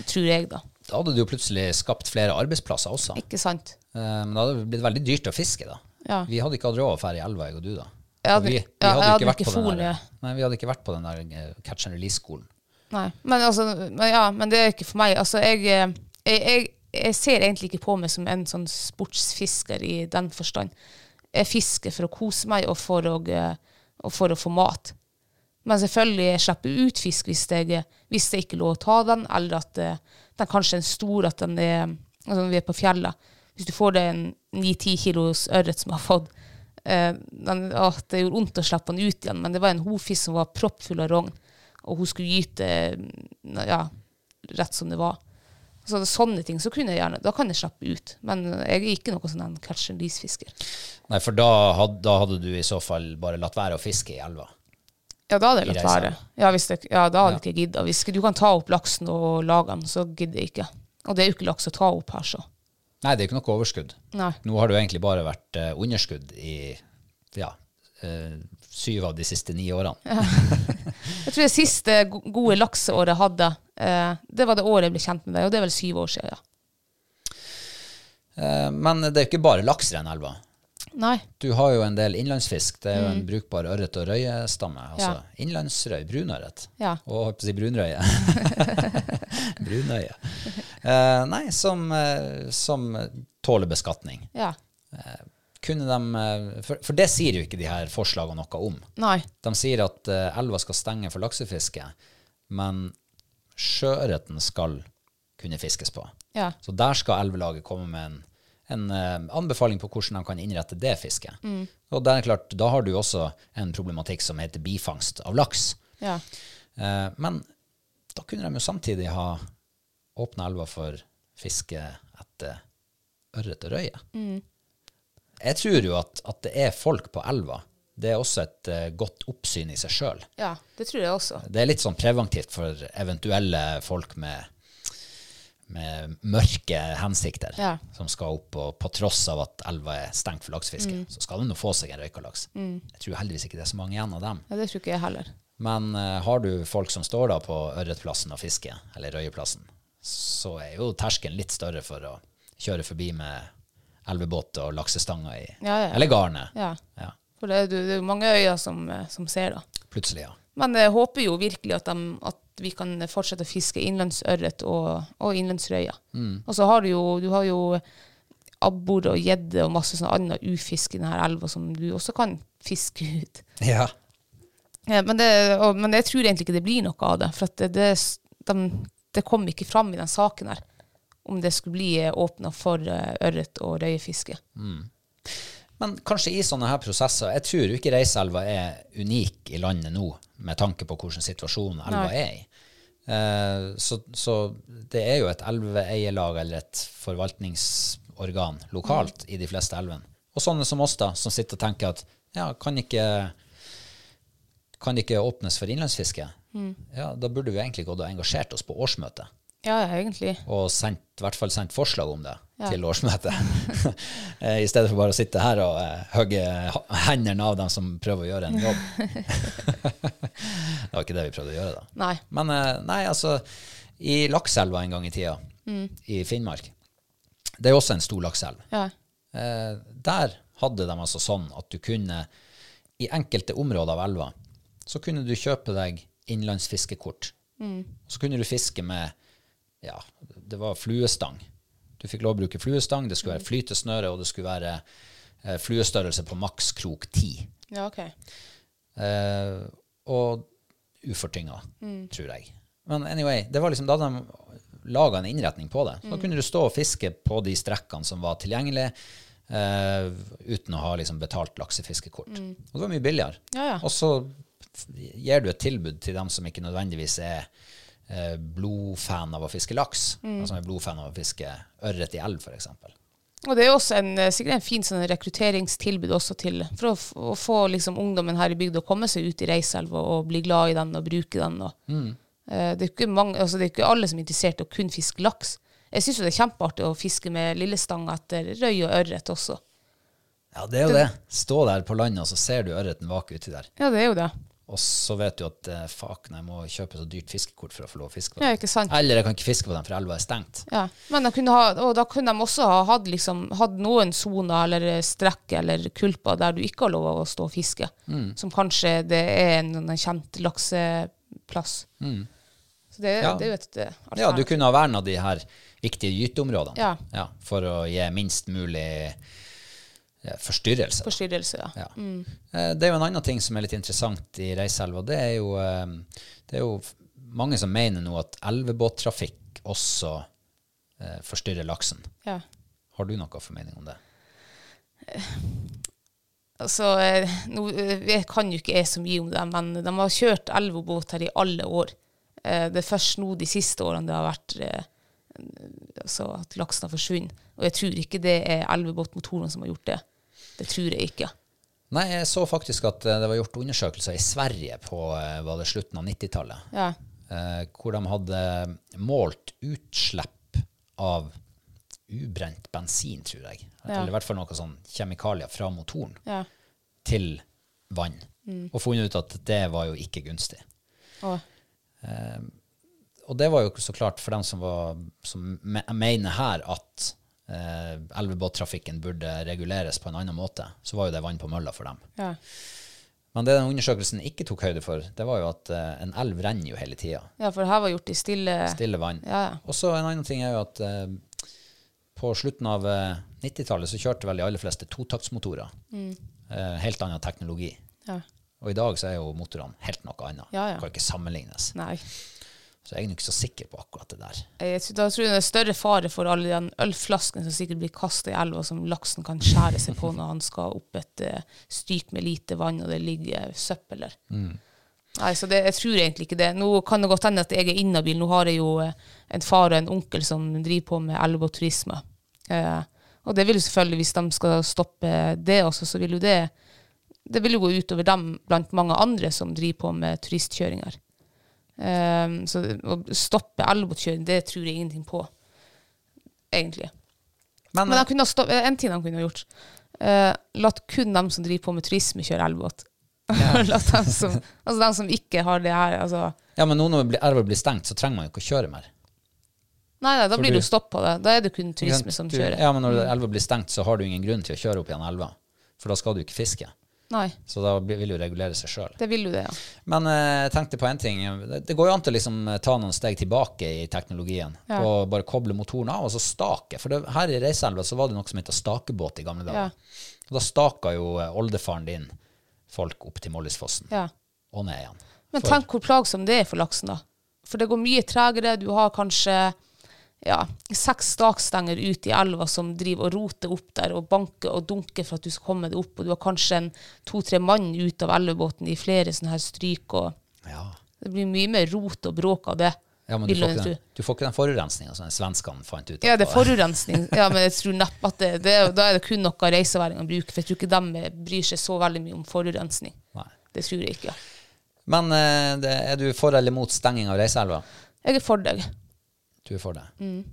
[SPEAKER 2] Tror jeg, da.
[SPEAKER 1] Da hadde du jo plutselig skapt flere arbeidsplasser også. Eh,
[SPEAKER 2] Ikke sant?
[SPEAKER 1] Men da hadde det blitt veldig dyrt å fiske, da.
[SPEAKER 2] Ja.
[SPEAKER 1] Vi hadde ikke hatt råd å dra i elva, jeg og du, da.
[SPEAKER 2] Jeg hadde-
[SPEAKER 1] Og vi, vi
[SPEAKER 2] ja,
[SPEAKER 1] hadde
[SPEAKER 2] jeg
[SPEAKER 1] jo
[SPEAKER 2] hadde
[SPEAKER 1] ikke vært
[SPEAKER 2] ikke
[SPEAKER 1] på den
[SPEAKER 2] folie.
[SPEAKER 1] der, nei, vi hadde ikke vært på den der eh, catch and release-skolen.
[SPEAKER 2] Nei, men, altså, men, ja, men det er ikke for meg. Altså, jeg, eh, jeg, jeg, jeg ser egentlig ikke på meg som en sånn sportsfisker i den forstand. Jeg fisker for å kose meg og for å, eh, og for å få mat. Men selvfølgelig jeg slipper ut fisk hvis, jeg, hvis det ikke er lov å ta den, eller at eh, den kanskje er stor, at den er altså når vi er på fjellet. Hvis du får deg en 9-10 kilos ørret som jeg har fått, eh, den, åh, det gjorde vondt å slippe den ut igjen, men det var en hovfisk som var proppfull av rogn, og hun skulle gyte eh, ja, rett som det var. Så det er sånne ting, så kunne jeg gjerne, da kan jeg slappe ut. Men jeg er ikke noe sånn en catch and lease-fisker.
[SPEAKER 1] Nei, for da hadde, da hadde du i så fall bare latt være å fiske i elva.
[SPEAKER 2] Ja, da hadde
[SPEAKER 1] I
[SPEAKER 2] jeg latt
[SPEAKER 1] reisen.
[SPEAKER 2] være. Ja, hvis det, ja da hadde jeg ikke gidda. Hvis ikke du kan ta opp laksen og lage den, så gidder jeg ikke. Og det er jo ikke laks å ta opp her, så.
[SPEAKER 1] Nei, det er ikke noe overskudd.
[SPEAKER 2] Nei.
[SPEAKER 1] Nå har det jo egentlig bare vært eh, underskudd i ja, eh, syv av de siste ni årene.
[SPEAKER 2] Jeg tror det siste go- gode lakseåret jeg hadde, eh, det var det året jeg ble kjent med deg, og det er vel syv år siden, ja.
[SPEAKER 1] Eh, men det er ikke bare laks i den elva.
[SPEAKER 2] Nei.
[SPEAKER 1] Du har jo en del innlandsfisk. Det er jo en brukbar ørret- og røyestamme. Altså
[SPEAKER 2] Ja.
[SPEAKER 1] innlandsrøy, brunørret.
[SPEAKER 2] Ja.
[SPEAKER 1] Og jeg holdt på å si brunrøye. Brunøye. Eh, nei, som, eh, som tåler beskatning.
[SPEAKER 2] Ja.
[SPEAKER 1] Kunne de, eh, for, for det sier jo ikke de her forslagene noe om.
[SPEAKER 2] Nei.
[SPEAKER 1] De sier at eh, elva skal stenge for laksefiske, men sjøørreten skal kunne fiskes på.
[SPEAKER 2] Ja.
[SPEAKER 1] Så der skal elvelaget komme med en, en eh, anbefaling på hvordan de kan innrette det fisket. Og det er klart, da har du også en problematikk som heter bifangst av laks.
[SPEAKER 2] Ja.
[SPEAKER 1] Eh, men da kunne de jo samtidig ha åpna elva for fiske etter ørret og røye. Jeg tror jo at, at det er folk på elva. Det er også et eh, godt oppsyn i seg sjøl.
[SPEAKER 2] Ja, det tror jeg også.
[SPEAKER 1] Det er litt sånn preventivt for eventuelle folk med, med mørke hensikter
[SPEAKER 2] Ja.
[SPEAKER 1] som skal opp, og på tross av at elva er stengt for laksefiske, så skal de nå få seg en røykalaks. Jeg tror heldigvis ikke det er så mange igjen av dem.
[SPEAKER 2] Ja, det tror ikke jeg heller.
[SPEAKER 1] Men eh, har du folk som står da på ørretplassen og fisker, eller røyeplassen, så er jo terskelen litt større for å kjøre forbi med elvebåt og laksestanger i
[SPEAKER 2] Ja, ja.
[SPEAKER 1] Eller garnet.
[SPEAKER 2] Ja.
[SPEAKER 1] Ja,
[SPEAKER 2] For det er jo- det er jo mange øyer som, eh, som ser, da.
[SPEAKER 1] Plutselig, ja.
[SPEAKER 2] Men jeg håper jo virkelig at, dem- at vi kan fortsette å fiske innlandsørret og, og innlandsrøye. Og så har du jo, du har jo abbor og gjedde og masse sånn annen ufisk i denne elva som du også kan fiske ut.
[SPEAKER 1] Ja.
[SPEAKER 2] Ja, men, det, og, men jeg tror egentlig ikke det blir noe av det. For at det, det, de, det kom ikke fram i den saken her om det skulle bli åpna for eh, ørret og røyefiske.
[SPEAKER 1] Men kanskje i sånne her prosesser Jeg tror jo ikke Reiselva er unik i landet nå, med tanke på hvordan situasjonen elva
[SPEAKER 2] Nei.
[SPEAKER 1] er i. Eh, så, så det er jo et elveeierlag eller et forvaltningsorgan lokalt i de fleste elvene. Og sånne som oss, da, som sitter og tenker at ja, kan ikke, kan ikke åpnes for innlandsfiske? Ja, da burde vi egentlig gått og engasjert oss på årsmøtet
[SPEAKER 2] Ja, ja, egentlig.
[SPEAKER 1] og sendt, i hvert fall sendt forslag om det til årsmøtet. Eh, I stedet for bare å sitte her og eh, hogge ha- hendene av dem som prøver å gjøre en jobb. det var ikke det vi prøvde å gjøre, da.
[SPEAKER 2] Nei.
[SPEAKER 1] Men eh, nei, altså, i Lakselva en gang i tida, i Finnmark Det er også en stor lakseelv.
[SPEAKER 2] Ja.
[SPEAKER 1] Eh, der hadde de altså sånn at du kunne, i enkelte områder av elva, så kunne du kjøpe deg innlandsfiskekort. Så kunne du fiske med ja, det var fluestang. Du fikk lov å bruke fluestang, det skulle være flytesnøre, og det skulle være eh, fluestørrelse på maks krok 10.
[SPEAKER 2] ja, ok.
[SPEAKER 1] Eh, og ufortynga,
[SPEAKER 2] Mm.
[SPEAKER 1] tror jeg. Men anyway, det var liksom da de laga en innretning på det. Så
[SPEAKER 2] Mm.
[SPEAKER 1] Da kunne du stå og fiske på de strekkene som var tilgjengelige, eh, uten å ha liksom betalt laksefiskekort. Og det var mye billigere.
[SPEAKER 2] Mm. Ja, ja.
[SPEAKER 1] Og så f- gir du et tilbud til dem som ikke nødvendigvis er eh, blodfan av å fiske laks,
[SPEAKER 2] Mm.
[SPEAKER 1] men som er blodfan av å fiske ørret i elv, f.eks.
[SPEAKER 2] Og det er jo også en, eh, sikkert en fin sånn rekrutteringstilbud også til, for å, f å få liksom, ungdommen her i bygda å komme seg ut i Reiselva og bli glad i den og bruke den. Og. Eh, det, er ikke mange, altså, det er ikke alle som er interessert i å kun fiske laks. Jeg syns jo det er kjempeartig å fiske med lillestang etter røy og ørret også.
[SPEAKER 1] Ja, det er jo det. Stå der på landet, og så ser du ørreten vake uti der.
[SPEAKER 2] Ja, det er jo det.
[SPEAKER 1] Og så vet du at eh, fuck, nei, jeg må kjøpe så dyrt fiskekort for å få lov å fiske på
[SPEAKER 2] Ja,
[SPEAKER 1] dem.
[SPEAKER 2] ikke sant?
[SPEAKER 1] Eller jeg kan ikke fiske på dem, for elva er stengt.
[SPEAKER 2] Ja, men da kunne, ha, og da kunne de også ha hatt, liksom, hatt noen soner eller strekk eller kulper der du ikke har lov å stå og fiske,
[SPEAKER 1] Mm.
[SPEAKER 2] som kanskje det er en, en kjent lakseplass. Så det,
[SPEAKER 1] Mm. Ja.
[SPEAKER 2] det er jo et eh,
[SPEAKER 1] Ja, du kunne ha verna de her viktige gyteområdene
[SPEAKER 2] Ja.
[SPEAKER 1] for å gi minst mulig eh, forstyrrelse. da.
[SPEAKER 2] forstyrrelse. Ja.
[SPEAKER 1] Ja. Eh, Det er jo en annen ting som er litt interessant i Reiselva. Det er jo, eh, det er jo f- mange som mener nå at elvebåttrafikk også eh, forstyrrer laksen.
[SPEAKER 2] Ja.
[SPEAKER 1] Har du noe formening om det?
[SPEAKER 2] Altså, eh, nå eh, jeg kan jo ikke jeg så mye om det, men de har kjørt elvebåt her i alle år. Eh, Det er først nå de siste årene det har vært eh, altså at laksen har forsvunnet. Og jeg tror ikke det er elvebåtmotorene som har gjort det. Det tror jeg ikke.
[SPEAKER 1] Nei, jeg så faktisk at eh, det var gjort undersøkelser i Sverige på eh, var det slutten av 90-tallet.
[SPEAKER 2] Ja.
[SPEAKER 1] eh, hvor de hadde målt utslipp av ubrent bensin, tror jeg. Eller i hvert fall noe sånn kjemikalier fra motoren
[SPEAKER 2] Ja.
[SPEAKER 1] til vann. Og funnet ut at det var jo ikke gunstig.
[SPEAKER 2] Å,
[SPEAKER 1] Og det var jo så klart for dem som, var, som me- mener her at eh, elvebåttrafikken burde reguleres på en annen måte, så var jo det vann på mølla for dem.
[SPEAKER 2] ja.
[SPEAKER 1] Men det den undersøkelsen ikke tok høyde for, det var jo at eh, en elv renner jo hele tida.
[SPEAKER 2] ja, for det her var gjort i stille,
[SPEAKER 1] Stille vann.
[SPEAKER 2] Ja, ja.
[SPEAKER 1] Og så en annen ting er jo at eh, på slutten av eh, 90-tallet så kjørte vel de aller fleste totaktsmotorer.
[SPEAKER 2] Mm.
[SPEAKER 1] Eh, helt annen teknologi.
[SPEAKER 2] Ja.
[SPEAKER 1] Og i dag så er jo motorene helt noe annet.
[SPEAKER 2] Ja, ja.
[SPEAKER 1] Kan ikke sammenlignes.
[SPEAKER 2] Nei.
[SPEAKER 1] Så jeg er nå ikke så sikker på akkurat det der.
[SPEAKER 2] Jeg, tror- da tror jeg det er større fare for alle de ølflaskene som sikkert blir kasta i elva, som laksen kan skjære seg på når han skal opp et eh, styk med lite vann, og det ligger søppel der. Nei, så det, jeg tror egentlig ikke det. Nå kan det godt hende at jeg er inhabil. Nå har jeg jo eh, en far og en onkel som driver på med elveturisme. Eh, og det vil jo selvfølgelig, hvis de skal stoppe det også, så vil jo det Det vil jo gå utover dem blant mange andre som driver på med turistkjøringer. Eh, så å stoppe elvebåtkjøring, det tror jeg ingenting på, egentlig.
[SPEAKER 1] Men,
[SPEAKER 2] Men de kunne ha stopp- eh, en ting de kunne ha gjort. Eh, latt kun dem som driver på med turisme, kjøre elbåt. latt dem som, altså dem som ikke har det her altså,
[SPEAKER 1] ja, men nå når blir- elva blir stengt, så trenger man jo ikke å kjøre mer.
[SPEAKER 2] Nei, nei, da blir
[SPEAKER 1] du-
[SPEAKER 2] det jo stopp på det. Da er det kun turisme som
[SPEAKER 1] Du-
[SPEAKER 2] kjører. Mm.
[SPEAKER 1] Ja, men når elva blir stengt, så har du ingen grunn til å kjøre opp igjen elva. For da skal du ikke fiske.
[SPEAKER 2] Nei,
[SPEAKER 1] Så da blir- vil jo regulere seg sjøl.
[SPEAKER 2] det vil jo det, ja.
[SPEAKER 1] Men eh, jeg tenkte på en ting. Det, det går jo an til å liksom, eh, ta noen steg tilbake i teknologien.
[SPEAKER 2] Ja.
[SPEAKER 1] Og bare koble motoren av, og så stake. For det, her i Reiselva så var det noe som het stakebåt i gamle dager.
[SPEAKER 2] Ja.
[SPEAKER 1] Og da staka jo eh, oldefaren din folk opp til Mollisfossen.
[SPEAKER 2] ja.
[SPEAKER 1] Og ned igjen.
[SPEAKER 2] Men
[SPEAKER 1] For-
[SPEAKER 2] tenk hvor plagsomt det er for laksen, da. For det går mye tregere. Du har kanskje ja, seks stakstenger ut i elva som driver og roter opp der og banker og dunker for at du skal komme deg opp, og du har kanskje en to-tre mann ut av elvebåten i flere sånne her stryk, og
[SPEAKER 1] Ja.
[SPEAKER 2] det blir mye mer rot og bråk av det.
[SPEAKER 1] Ja, men du
[SPEAKER 2] Vil
[SPEAKER 1] får,
[SPEAKER 2] du
[SPEAKER 1] ikke
[SPEAKER 2] tro.
[SPEAKER 1] den, du får ikke den forurensninga som den svenskene fant ut.
[SPEAKER 2] Ja, det er
[SPEAKER 1] etterpå.
[SPEAKER 2] forurensning. Ja, men jeg tror neppe at det, det er- Da er det kun noe reiseværingene bruker, for jeg tror ikke de bryr seg så veldig mye om forurensning.
[SPEAKER 1] Nei.
[SPEAKER 2] Det tror jeg ikke.
[SPEAKER 1] Men eh, det, er du for eller mot stenging av Reiseelva?
[SPEAKER 2] Jeg er for deg.
[SPEAKER 1] Du er for det.
[SPEAKER 2] Mm.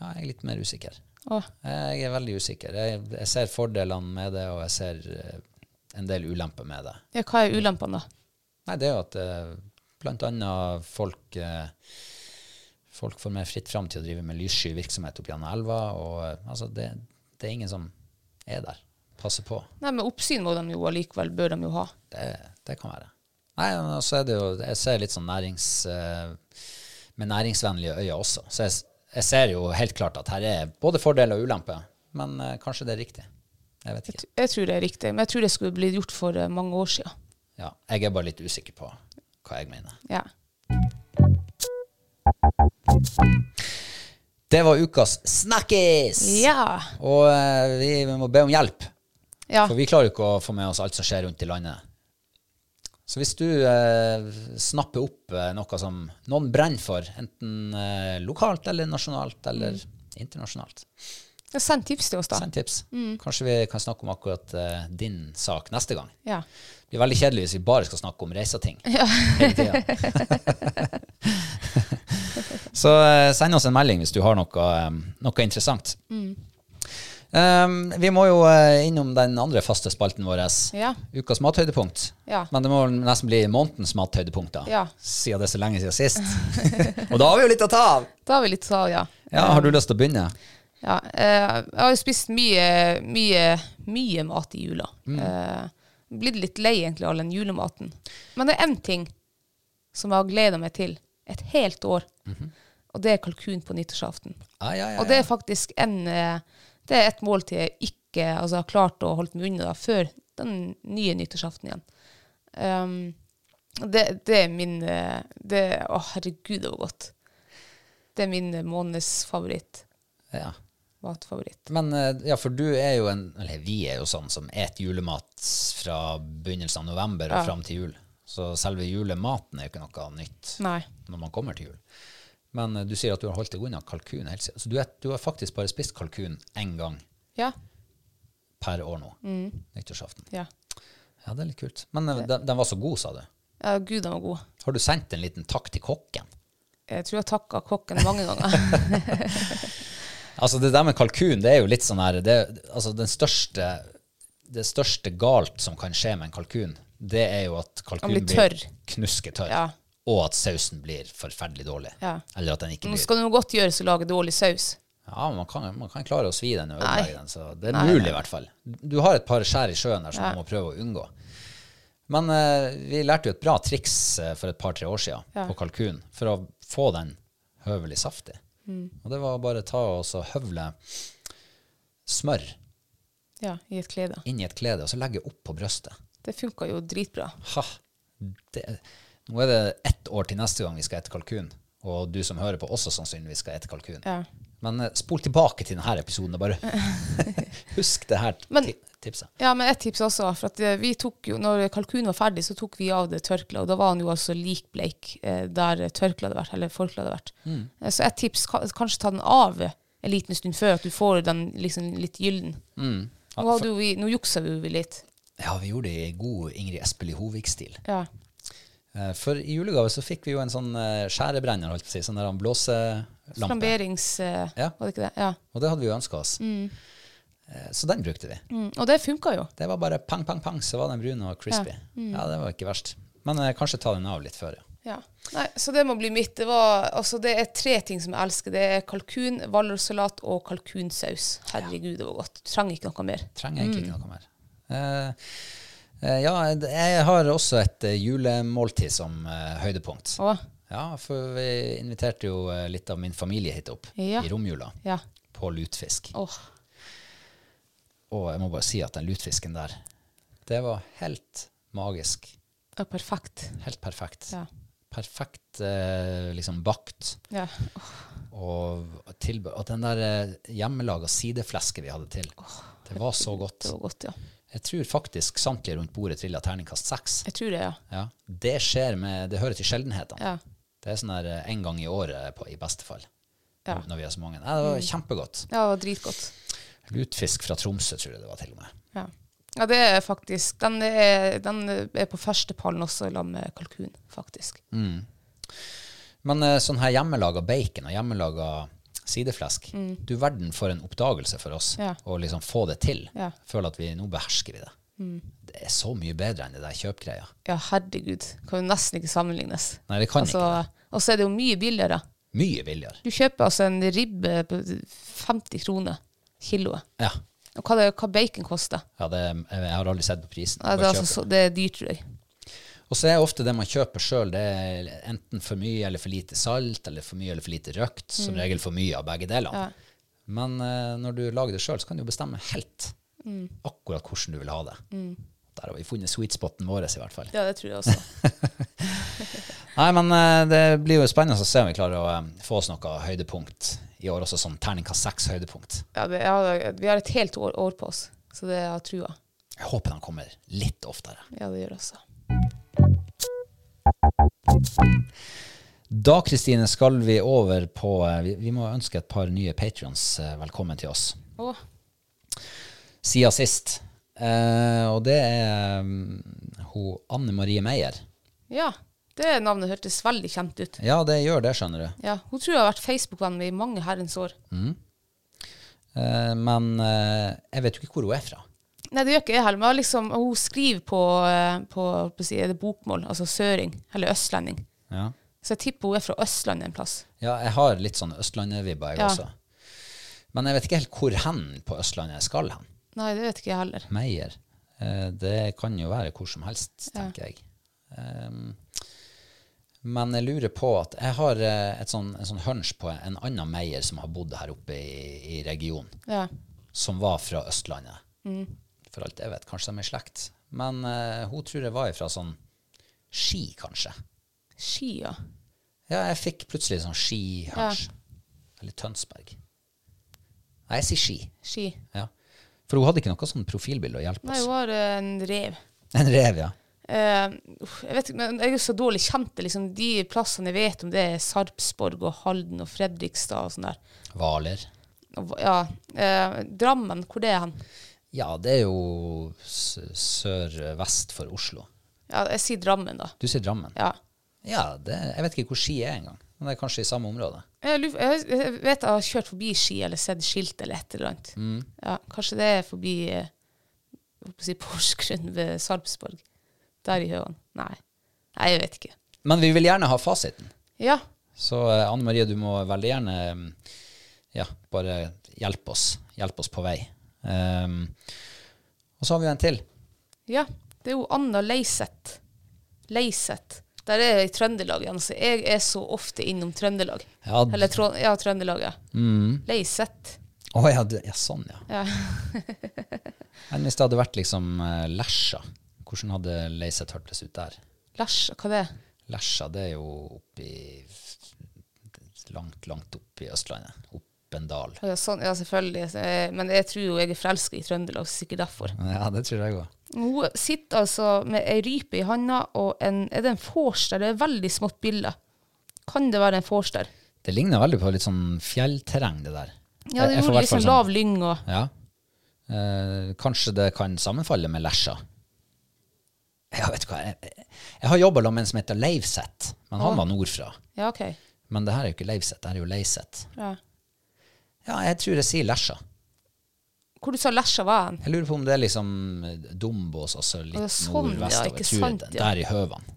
[SPEAKER 1] Ja, jeg er litt mer usikker.
[SPEAKER 2] Åh.
[SPEAKER 1] Jeg er veldig usikker. Jeg, jeg ser fordelene med det, og jeg ser eh, en del ulemper med det.
[SPEAKER 2] Ja, hva er ulempene, da?
[SPEAKER 1] Nei, det er jo at eh, blant annet folk, eh, folk får mer fritt fram til å drive med lyssky virksomhet opp gjennom elva, og eh, altså, det, det er ingen som er der. Passer på.
[SPEAKER 2] Nei, men Oppsyn må de jo allikevel bør de jo ha.
[SPEAKER 1] Det, det kan være. Nei, men også er det jo Jeg ser litt sånn nærings... eh, med næringsvennlige øyne også. Så jeg, s- jeg ser jo helt klart at her er både fordeler og ulemper, men eh, kanskje det er riktig. Jeg vet ikke.
[SPEAKER 2] Jeg tror det er riktig, men jeg tror det skulle blitt gjort for eh, mange år siden.
[SPEAKER 1] Ja, jeg er bare litt usikker på hva jeg mener.
[SPEAKER 2] Ja.
[SPEAKER 1] Det var ukas snakkis!
[SPEAKER 2] Ja.
[SPEAKER 1] Og eh, vi, vi må be om hjelp,
[SPEAKER 2] ja.
[SPEAKER 1] for vi klarer jo ikke å få med oss alt som skjer rundt i landet. Så hvis du eh, snapper opp eh, noe som noen brenner for, enten eh, lokalt eller nasjonalt eller
[SPEAKER 2] Mm.
[SPEAKER 1] internasjonalt,
[SPEAKER 2] Send tips til oss, da.
[SPEAKER 1] send tips.
[SPEAKER 2] Mm.
[SPEAKER 1] Kanskje vi kan snakke om akkurat eh, din sak neste gang.
[SPEAKER 2] Ja.
[SPEAKER 1] Det blir veldig kjedelig hvis vi bare skal snakke om reiseting. hele tiden. så eh, send oss en melding hvis du har noe, eh, noe interessant.
[SPEAKER 2] Mm.
[SPEAKER 1] Um, vi må jo eh, innom den andre faste spalten vår,
[SPEAKER 2] Ja.
[SPEAKER 1] ukas mathøydepunkt.
[SPEAKER 2] Ja.
[SPEAKER 1] Men det må vel nesten bli månedens mathøydepunkt, da.
[SPEAKER 2] Ja.
[SPEAKER 1] siden det er så lenge siden sist. Og da har vi jo litt å ta av!
[SPEAKER 2] Da har vi litt sa, ja.
[SPEAKER 1] Ja, Har du lyst til å begynne?
[SPEAKER 2] ja. eh, Jeg har jo spist mye, mye, mye mat i jula.
[SPEAKER 1] Mm.
[SPEAKER 2] Eh, blitt litt lei egentlig av den julematen. Men det er én ting som jeg har gleda meg til et helt år,
[SPEAKER 1] Mhm.
[SPEAKER 2] og det er kalkun på nyttårsaften.
[SPEAKER 1] Ah, ja, ja,
[SPEAKER 2] Og det
[SPEAKER 1] ja.
[SPEAKER 2] er faktisk en eh, Det er et måltid jeg ikke altså, har klart å holde meg unna da, før den nye nyttårsaften igjen. Ehm, det, det er min eh, det, Å, herregud, det var godt. Det er min eh, måneds favoritt.
[SPEAKER 1] ja.
[SPEAKER 2] Matfavoritt.
[SPEAKER 1] Men eh, ja, for du er jo en Eller vi er jo sånn som et julemat fra begynnelsen av november og fram til jul. Så selve julematen er jo ikke noe nytt
[SPEAKER 2] Nei.
[SPEAKER 1] når man kommer til jul. Men eh, du sier at du har holdt deg unna kalkun helt siden. Så du, er, du har faktisk bare spist kalkun én gang
[SPEAKER 2] Ja.
[SPEAKER 1] per år nå. Nyttårsaften.
[SPEAKER 2] Ja.
[SPEAKER 1] Ja, det er litt kult. Men eh, den, den var så god, sa du.
[SPEAKER 2] ja Gud, den var god.
[SPEAKER 1] Har du sendt en liten takk til kokken?
[SPEAKER 2] Jeg tror jeg takka kokken mange ganger.
[SPEAKER 1] Altså Det der med kalkun, det er jo litt sånn her det, altså den største, Det største galt som kan skje med en kalkun, det er jo at kalkunen
[SPEAKER 2] blir
[SPEAKER 1] blir,
[SPEAKER 2] tørr.
[SPEAKER 1] knusketørr.
[SPEAKER 2] Ja.
[SPEAKER 1] Og at sausen blir forferdelig dårlig.
[SPEAKER 2] Ja.
[SPEAKER 1] Eller at den ikke
[SPEAKER 2] Nå
[SPEAKER 1] blir
[SPEAKER 2] skal det noe godt gjøres å lage dårlig saus.
[SPEAKER 1] Ja, man kan, man kan klare å svi den og
[SPEAKER 2] Nei.
[SPEAKER 1] ødelegge den, så det er mulig i hvert fall. Du har et par skjær i sjøen der som du må prøve å unngå. Men eh, vi lærte jo et bra triks eh, for et par-tre år siden på kalkun for å få den høvelig saftig.
[SPEAKER 2] Mm.
[SPEAKER 1] Og det var bare å ta og så høvle smør
[SPEAKER 2] Ja, i et klede.
[SPEAKER 1] inn i et klede og så legge opp på brøstet.
[SPEAKER 2] Det funka jo dritbra.
[SPEAKER 1] Ha, det, nå er det ett år til neste gang vi skal ete kalkun, og du som hører på også sannsynligvis skal ete kalkun.
[SPEAKER 2] Ja.
[SPEAKER 1] Men eh, spol tilbake til denne episoden og bare husk det her ti-
[SPEAKER 2] Men-
[SPEAKER 1] tipset.
[SPEAKER 2] Ja, men et tips også, for at eh, vi tok jo, når kalkunen var ferdig, så tok vi av det tørkleet, og da var han jo altså likbleik eh, der tørkleet hadde vært, eller forkleet hadde vært.
[SPEAKER 1] Mm.
[SPEAKER 2] Eh, Så et tips, ka- kanskje ta den av en liten stund før, at du får den liksom litt gylden.
[SPEAKER 1] Ja,
[SPEAKER 2] Nå, hadde jo vi, nå juksa vi jo litt.
[SPEAKER 1] Ja, vi gjorde det i god Ingrid Espelid Hovig-stil.
[SPEAKER 2] Ja.
[SPEAKER 1] Eh, For i julegave så fikk vi jo en sånn eh, skjærebrenner, holdt jeg på å si, sånn der han blåselampe.
[SPEAKER 2] Flamberings, eh,
[SPEAKER 1] Ja.
[SPEAKER 2] var det ikke det? Ja.
[SPEAKER 1] Og det hadde vi jo ønska oss. Eh, Så den brukte vi.
[SPEAKER 2] Mm, og det funka jo.
[SPEAKER 1] Det var bare pang, pang, pang, så var den brun og crispy. Ja,
[SPEAKER 2] Mm.
[SPEAKER 1] det var ikke verst. Men eh, kanskje ta den av litt før, ja.
[SPEAKER 2] Ja. Nei, så det må bli mitt. Det, var, altså, det er tre ting som jeg elsker. Det er kalkun, valrossalat og kalkunsaus. Herregud, det var godt. Du trenger ikke noe mer.
[SPEAKER 1] Trenger egentlig
[SPEAKER 2] Mm.
[SPEAKER 1] ikke noe mer. Eh, eh, ja, d- jeg har også et eh, julemåltid som eh, høydepunkt.
[SPEAKER 2] Å,
[SPEAKER 1] Ja, for vi inviterte jo eh, litt av min familie hit opp
[SPEAKER 2] Ja.
[SPEAKER 1] i romjula
[SPEAKER 2] ja.
[SPEAKER 1] på lutfisk.
[SPEAKER 2] Åh.
[SPEAKER 1] Og jeg må bare si at den lutfisken der, det var helt magisk.
[SPEAKER 2] Ja, perfekt.
[SPEAKER 1] Helt perfekt.
[SPEAKER 2] Ja.
[SPEAKER 1] Perfekt eh, liksom bakt.
[SPEAKER 2] Ja.
[SPEAKER 1] Og, tilbe- og den der eh, hjemmelaga sideflesket vi hadde til, det var så godt.
[SPEAKER 2] Det var godt, ja.
[SPEAKER 1] Jeg tror faktisk samtlige rundt bordet trilla terningkast seks.
[SPEAKER 2] Jeg tror det, ja.
[SPEAKER 1] Ja. Det skjer med Det hører til sjeldenhetene.
[SPEAKER 2] Ja.
[SPEAKER 1] Det Det er sånn her eh, en gang i året på, i beste fall.
[SPEAKER 2] Ja. Mm.
[SPEAKER 1] Når vi har så mange. Nei, det var kjempegodt.
[SPEAKER 2] Ja, det var dritgodt.
[SPEAKER 1] Lutfisk fra Tromsø, tror jeg det var til og med.
[SPEAKER 2] Ja. ja, det er faktisk Den er, den er på førstepallen også i lag med kalkun, faktisk.
[SPEAKER 1] Mm. Men eh, sånn her hjemmelaga bacon og hjemmelaga sideflesk Du verden for en oppdagelse for oss
[SPEAKER 2] Mm. Ja.
[SPEAKER 1] å liksom få det til.
[SPEAKER 2] Ja. Mm.
[SPEAKER 1] Føler at vi nå behersker vi det. Det er så mye bedre enn det der kjøpgreia.
[SPEAKER 2] Ja, herregud. Kan jo nesten ikke sammenlignes.
[SPEAKER 1] Nei, det kan ikke.
[SPEAKER 2] Altså, og så er det jo mye billigere.
[SPEAKER 1] det. Mye billigere.
[SPEAKER 2] Du kjøper altså en ribbe på 50 kroner kiloet.
[SPEAKER 1] Ja.
[SPEAKER 2] Og hva, det, hva bacon koster?
[SPEAKER 1] ja det, jeg har aldri sett på prisen.
[SPEAKER 2] Nei, det, er
[SPEAKER 1] Bare
[SPEAKER 2] altså,
[SPEAKER 1] kjøper.
[SPEAKER 2] så, det er dyrt, tror jeg.
[SPEAKER 1] Og så er ofte det man kjøper sjøl, det er enten for mye eller for lite salt, eller for mye eller for lite røkt. Som regel for mye av begge delene. Men eh, når du lager det sjøl, så kan du bestemme helt akkurat hvordan du vil ha det. Der har vi funnet sweet spoten vår, i hvert fall.
[SPEAKER 2] Ja, det tror jeg også.
[SPEAKER 1] Nei, men eh, det blir jo spennende å se om vi klarer å eh, få oss noe høydepunkt i år, også sånn terningkast seks høydepunkt.
[SPEAKER 2] Ja, det, ja, vi har et helt år, år på oss, så det har jeg trua.
[SPEAKER 1] Jeg håper den kommer litt oftere.
[SPEAKER 2] Ja, det altså. gjør jeg også.
[SPEAKER 1] Da, Kristine, skal vi over på eh, Vi, vi må ønske et par nye patrions velkommen til oss.
[SPEAKER 2] Å,
[SPEAKER 1] siden sist. Eh, og det er mm, hun Anne Marie Meyer.
[SPEAKER 2] ja. Det navnet hørtes veldig kjent ut.
[SPEAKER 1] Ja, det gjør det, skjønner du.
[SPEAKER 2] Ja, Hun tror jeg har vært Facebook-venn med i mange herrens år.
[SPEAKER 1] Eh, men eh, jeg vet jo ikke hvor hun er fra.
[SPEAKER 2] Nei, det gjør ikke jeg heller. Men jeg har liksom, hun skriver på, eh, på, på si, er det bokmål, altså søring, eller østlending.
[SPEAKER 1] Ja,
[SPEAKER 2] Så jeg tipper hun er fra Østlandet en plass.
[SPEAKER 1] jeg har litt sånn Østlandet-vibber, jeg
[SPEAKER 2] Ja.
[SPEAKER 1] også. Men jeg vet ikke helt hvor hen på Østlandet jeg skal hen.
[SPEAKER 2] Nei, det vet ikke jeg heller.
[SPEAKER 1] Meyer. Eh, det kan jo være hvor som helst, tenker jeg. Ehm, men jeg lurer på at jeg har eh, et sånn, en sånn hunch på en annen Meyer som har bodd her oppe i, i regionen.
[SPEAKER 2] Ja.
[SPEAKER 1] som var fra Østlandet. For alt jeg vet, kanskje de er i slekt. Men eh, hun tror jeg var fra sånn Ski, kanskje.
[SPEAKER 2] Skia.
[SPEAKER 1] Ja, jeg fikk plutselig sånn Ski-hunch. Eller Tønsberg. Nei, jeg sier Ski.
[SPEAKER 2] Ski.
[SPEAKER 1] Ja. For hun hadde ikke noe sånn profilbilde å hjelpe
[SPEAKER 2] Nei,
[SPEAKER 1] oss.
[SPEAKER 2] hun har eh, en rev.
[SPEAKER 1] En rev, ja.
[SPEAKER 2] Eh, uff, jeg vet ikke, men jeg er jo så dårlig kjent. det, Liksom, de plassene jeg vet om, det er Sarpsborg og Halden og Fredrikstad og sånn der.
[SPEAKER 1] Hvaler.
[SPEAKER 2] Og, hva- ja, eh, Drammen, hvor det er hen?
[SPEAKER 1] Ja, det er jo s- sør-vest for Oslo.
[SPEAKER 2] Ja, jeg sier Drammen, da.
[SPEAKER 1] Du sier Drammen.
[SPEAKER 2] Ja.
[SPEAKER 1] Ja, det, jeg vet ikke hvor Ski er engang. Men det er kanskje i samme område.
[SPEAKER 2] Jeg, lurer- jeg, jeg vet jeg har kjørt forbi Ski eller sett skilt eller et eller annet. Ja, kanskje det er forbi eh, jeg holdt på å si Porsgrunn ved Sarpsborg. Der i høvene. Nei. Nei, jeg vet ikke.
[SPEAKER 1] Men vi vil gjerne ha fasiten.
[SPEAKER 2] Ja.
[SPEAKER 1] Så eh, Anne Marie, du må veldig gjerne mm, ja, bare hjelpe oss. Hjelpe oss på vei. Ehm, og så har vi jo en til.
[SPEAKER 2] Ja, det er jo Anna Leiseth. Leiseth. Der er jeg i Trøndelag igjen, så jeg er så ofte innom Trøndelag.
[SPEAKER 1] Ja, d- mm.
[SPEAKER 2] Eller Trond ja, Trøndelag, ja. Leiseth.
[SPEAKER 1] Å ja, du, ja, sånn, ja. Enn hvis det hadde vært liksom eh, Lesja? Hvordan hadde Leiseth hørtes ut der?
[SPEAKER 2] Lars, hva det er?
[SPEAKER 1] Lesja, det er jo oppi Langt, langt oppi Østlandet. Opp en dal.
[SPEAKER 2] Å Ja, sånn, ja, selvfølgelig. Så, eh, Men jeg tror jo jeg er forelska i Trøndelag, så sikkert derfor.
[SPEAKER 1] Ja, det tror jeg òg.
[SPEAKER 2] Hun sitter altså med ei rype i handa, og en, er det en vors der? Det er veldig smått bilde. Kan det være en vors der?
[SPEAKER 1] Det ligner veldig på litt sånn fjellterreng, det der.
[SPEAKER 2] Ja,
[SPEAKER 1] Jeg-
[SPEAKER 2] det
[SPEAKER 1] jeg får
[SPEAKER 2] gjorde
[SPEAKER 1] hvertfall
[SPEAKER 2] liksom
[SPEAKER 1] sånn-
[SPEAKER 2] lav lyng og
[SPEAKER 1] Ja. Eh, kanskje det kan sammenfalle med Lesja. Jeg vet hva, jeg, jeg har jobba med en som heter Leivseth, men han var nordfra.
[SPEAKER 2] Ja, OK.
[SPEAKER 1] Men det her er jo ikke Leivseth, det her er jo Leiseth.
[SPEAKER 2] Ja.
[SPEAKER 1] Ja, jeg tror jeg sier Lesja.
[SPEAKER 2] Hvor du sa Lesja var hen?
[SPEAKER 1] Jeg lurer på om det er liksom Dombås, altså litt
[SPEAKER 2] Ja, sånn, ja,
[SPEAKER 1] nordvestover.
[SPEAKER 2] ikke
[SPEAKER 1] Tror jeg
[SPEAKER 2] sant,
[SPEAKER 1] det-
[SPEAKER 2] ja.
[SPEAKER 1] Der i høvene.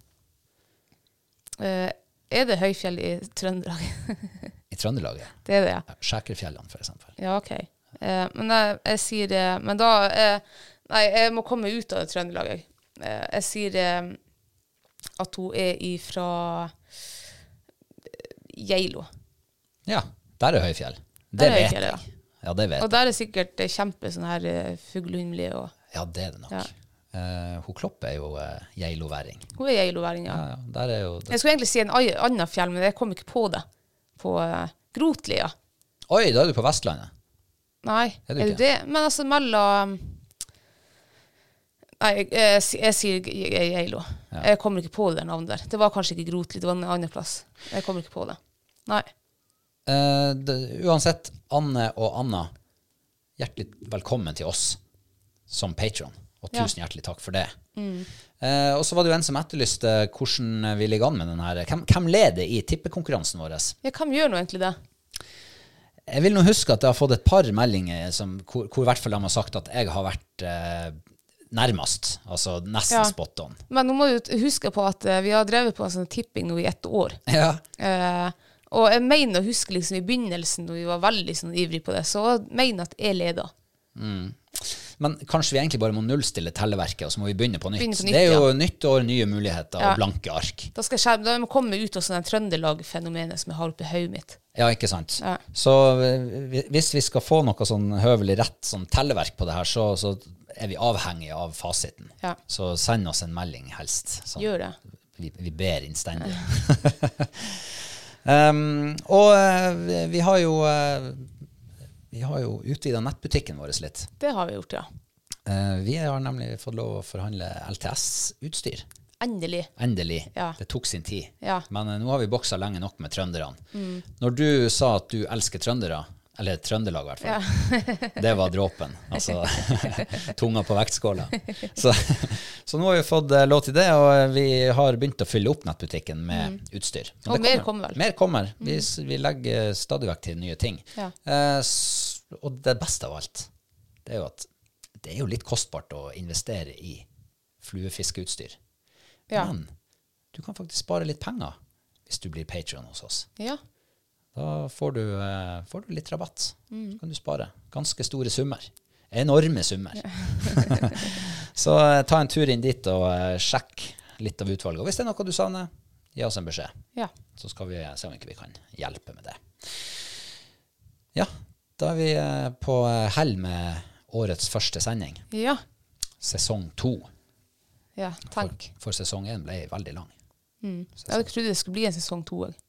[SPEAKER 2] Eh, er det høyfjell i Trøndelag?
[SPEAKER 1] I Trøndelaget.
[SPEAKER 2] Det er det, ja.
[SPEAKER 1] Ja, Skjækerfjellene, for eksempel.
[SPEAKER 2] Ja, OK. Eh, men jeg, jeg sier det Men da eh, Nei, jeg må komme ut av Trøndelag, jeg. Eh, jeg sier eh, at hun er ifra eh, Geilo.
[SPEAKER 1] Ja, der er høyfjell.
[SPEAKER 2] Der
[SPEAKER 1] Det
[SPEAKER 2] er
[SPEAKER 1] vet
[SPEAKER 2] høyfjell, ja.
[SPEAKER 1] jeg. Ja, det vet
[SPEAKER 2] Og der er sikkert eh, kjempe sånn her eh, fuglehumle og
[SPEAKER 1] jeg. Ja, det er det nok.
[SPEAKER 2] Ja.
[SPEAKER 1] Eh, hun Kloppe er jo eh, geiloværing.
[SPEAKER 2] Hun er geiloværing, ja.
[SPEAKER 1] Ja, ja, der er jo
[SPEAKER 2] Jeg skulle egentlig si en ai- annen fjell, men jeg kom ikke på det. På eh, Grotlia.
[SPEAKER 1] Oi, da er du på Vestlandet.
[SPEAKER 2] Nei,
[SPEAKER 1] Er
[SPEAKER 2] er
[SPEAKER 1] du
[SPEAKER 2] det
[SPEAKER 1] ikke?
[SPEAKER 2] det? Men altså mellom Nei, jeg, jeg, si- jeg sier Ge- Ge- Geilo. Jeg kommer ikke på det der navnet der. Det var kanskje ikke Grotli, det var en annen plass. Jeg kommer ikke på det. Nei.
[SPEAKER 1] Eh, det, uansett, Anne og Anna, hjertelig velkommen til oss som patron. Og
[SPEAKER 2] Ja. Mm.
[SPEAKER 1] tusen hjertelig takk for det. Eh, og så var det jo en som etterlyste hvordan vi ligger an med den her. Hvem, hvem leder i tippekonkurransen vår?
[SPEAKER 2] Ja, hvem gjør nå egentlig det?
[SPEAKER 1] Jeg vil nå huske at jeg har fått et par meldinger som, hvor, hvor i hvert fall de har sagt at jeg har vært eh, nærmest. Altså nesten
[SPEAKER 2] Ja.
[SPEAKER 1] spot on.
[SPEAKER 2] Men nå må du t- huske på at eh, vi har drevet på en sånn tipping nå i ett år.
[SPEAKER 1] Ja.
[SPEAKER 2] Eh, og jeg mener å huske liksom i begynnelsen, når vi var veldig sånn ivrig på det, så mener jeg at jeg leder.
[SPEAKER 1] Men kanskje vi egentlig bare må nullstille telleverket, og så må vi begynne på nytt.
[SPEAKER 2] Begynne på nytt,
[SPEAKER 1] det er jo nytt år, nye muligheter
[SPEAKER 2] Ja.
[SPEAKER 1] og blanke ark.
[SPEAKER 2] Da skal jeg skjerme, da må jeg komme ut av sånn det Trøndelag-fenomenet som jeg har oppi hodet mitt.
[SPEAKER 1] Ja, ikke sant.
[SPEAKER 2] Ja.
[SPEAKER 1] Så eh, hvis vi skal få noe sånn høvelig rett sånn telleverk på det her, så, så er vi avhengige av fasiten.
[SPEAKER 2] Ja.
[SPEAKER 1] Så send oss en melding, helst. Sånn.
[SPEAKER 2] Gjør det.
[SPEAKER 1] Vi, vi ber innstendig. um, og eh, vi- vi har jo eh, Vi har jo utvida nettbutikken vår litt.
[SPEAKER 2] Det har vi gjort, ja.
[SPEAKER 1] Eh, vi har nemlig fått lov å forhandle LTS-utstyr.
[SPEAKER 2] Endelig.
[SPEAKER 1] Endelig.
[SPEAKER 2] Ja.
[SPEAKER 1] Det tok sin tid.
[SPEAKER 2] Ja. Mm.
[SPEAKER 1] Men eh, nå har vi boksa lenge nok med trønderne. Når du sa at du elsker trøndere, eller Trøndelag i hvert fall, det var dråpen. Altså tunga på vektskåla. Så, så nå har vi fått eh, lov til det, og eh, vi har begynt å fylle opp nettbutikken med utstyr. Men
[SPEAKER 2] Og
[SPEAKER 1] det
[SPEAKER 2] mer Mm. kommer vel.
[SPEAKER 1] Mer kommer. Vi, s- vi legger eh, stadig vekk til nye ting.
[SPEAKER 2] Ja.
[SPEAKER 1] Eh, s- og det beste av alt, det er jo at det er jo litt kostbart å investere i fluefiskeutstyr.
[SPEAKER 2] Ja.
[SPEAKER 1] Men du kan faktisk spare litt penger hvis du blir Patreon hos oss.
[SPEAKER 2] Ja.
[SPEAKER 1] Da får du, eh, får du litt rabatt. Så kan du spare ganske store summer. Enorme summer. Så eh, ta en tur inn dit og eh, sjekk litt av utvalget. Og hvis det er noe du savner, gi oss en beskjed.
[SPEAKER 2] ja.
[SPEAKER 1] Så skal vi eh, se om ikke vi kan hjelpe med det. Ja, da er vi eh, på eh, hell med årets første sending.
[SPEAKER 2] Ja.
[SPEAKER 1] Sesong to.
[SPEAKER 2] ja.
[SPEAKER 1] For,
[SPEAKER 2] Tenk.
[SPEAKER 1] for sesong én ble veldig lang.
[SPEAKER 2] Jeg hadde ikke trodd det skulle bli en sesong to òg.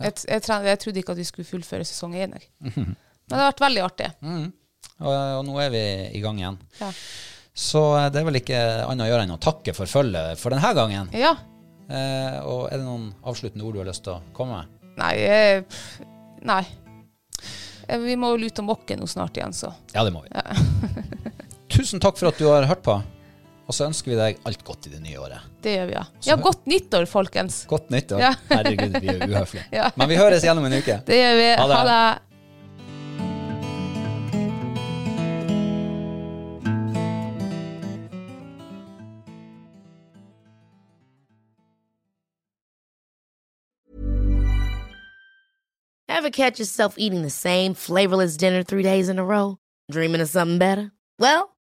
[SPEAKER 2] Jeg, t- jeg, tre- jeg trodde ikke at vi skulle fullføre sesong én. jeg.
[SPEAKER 1] Mhm.
[SPEAKER 2] Men det har vært veldig artig.
[SPEAKER 1] Mm. Og, og nå er vi i gang igjen.
[SPEAKER 2] Ja.
[SPEAKER 1] Så eh, det er vel ikke annet å gjøre enn å takke for følget for denne gangen.
[SPEAKER 2] ja.
[SPEAKER 1] Eh, og er det noen avsluttende ord du har lyst til å komme med?
[SPEAKER 2] Nei jeg, pff, Nei. Eh, Vi må vel ut og mokke nå snart igjen, så.
[SPEAKER 1] Ja, det må vi. Tusen takk for at du har hørt på, og så ønsker vi deg alt godt i det nye året.
[SPEAKER 2] Det gjør vi, ja. Ja, godt nyttår, folkens.
[SPEAKER 1] Godt nyttår.
[SPEAKER 2] Ja.
[SPEAKER 1] Herregud, vi er uhøflige.
[SPEAKER 2] Ja.
[SPEAKER 1] Men vi høres igjen om en uke.
[SPEAKER 2] Det gjør vi.
[SPEAKER 1] Ha det.
[SPEAKER 2] Ha det.
[SPEAKER 3] Ever catch yourself eating the same flavorless dinner three days in a row? Dreaming of something better? Well,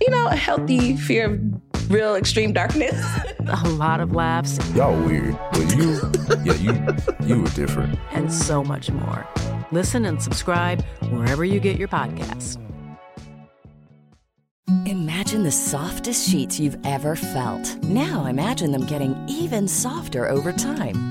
[SPEAKER 4] you know, a healthy fear of real extreme darkness.
[SPEAKER 5] a lot of laughs,
[SPEAKER 6] Y'all weird, but you, yeah, you, you were different.
[SPEAKER 5] and so much more. Listen and subscribe wherever you get your podcasts.
[SPEAKER 7] Imagine the softest sheets you've ever felt. Now imagine them getting even softer over time.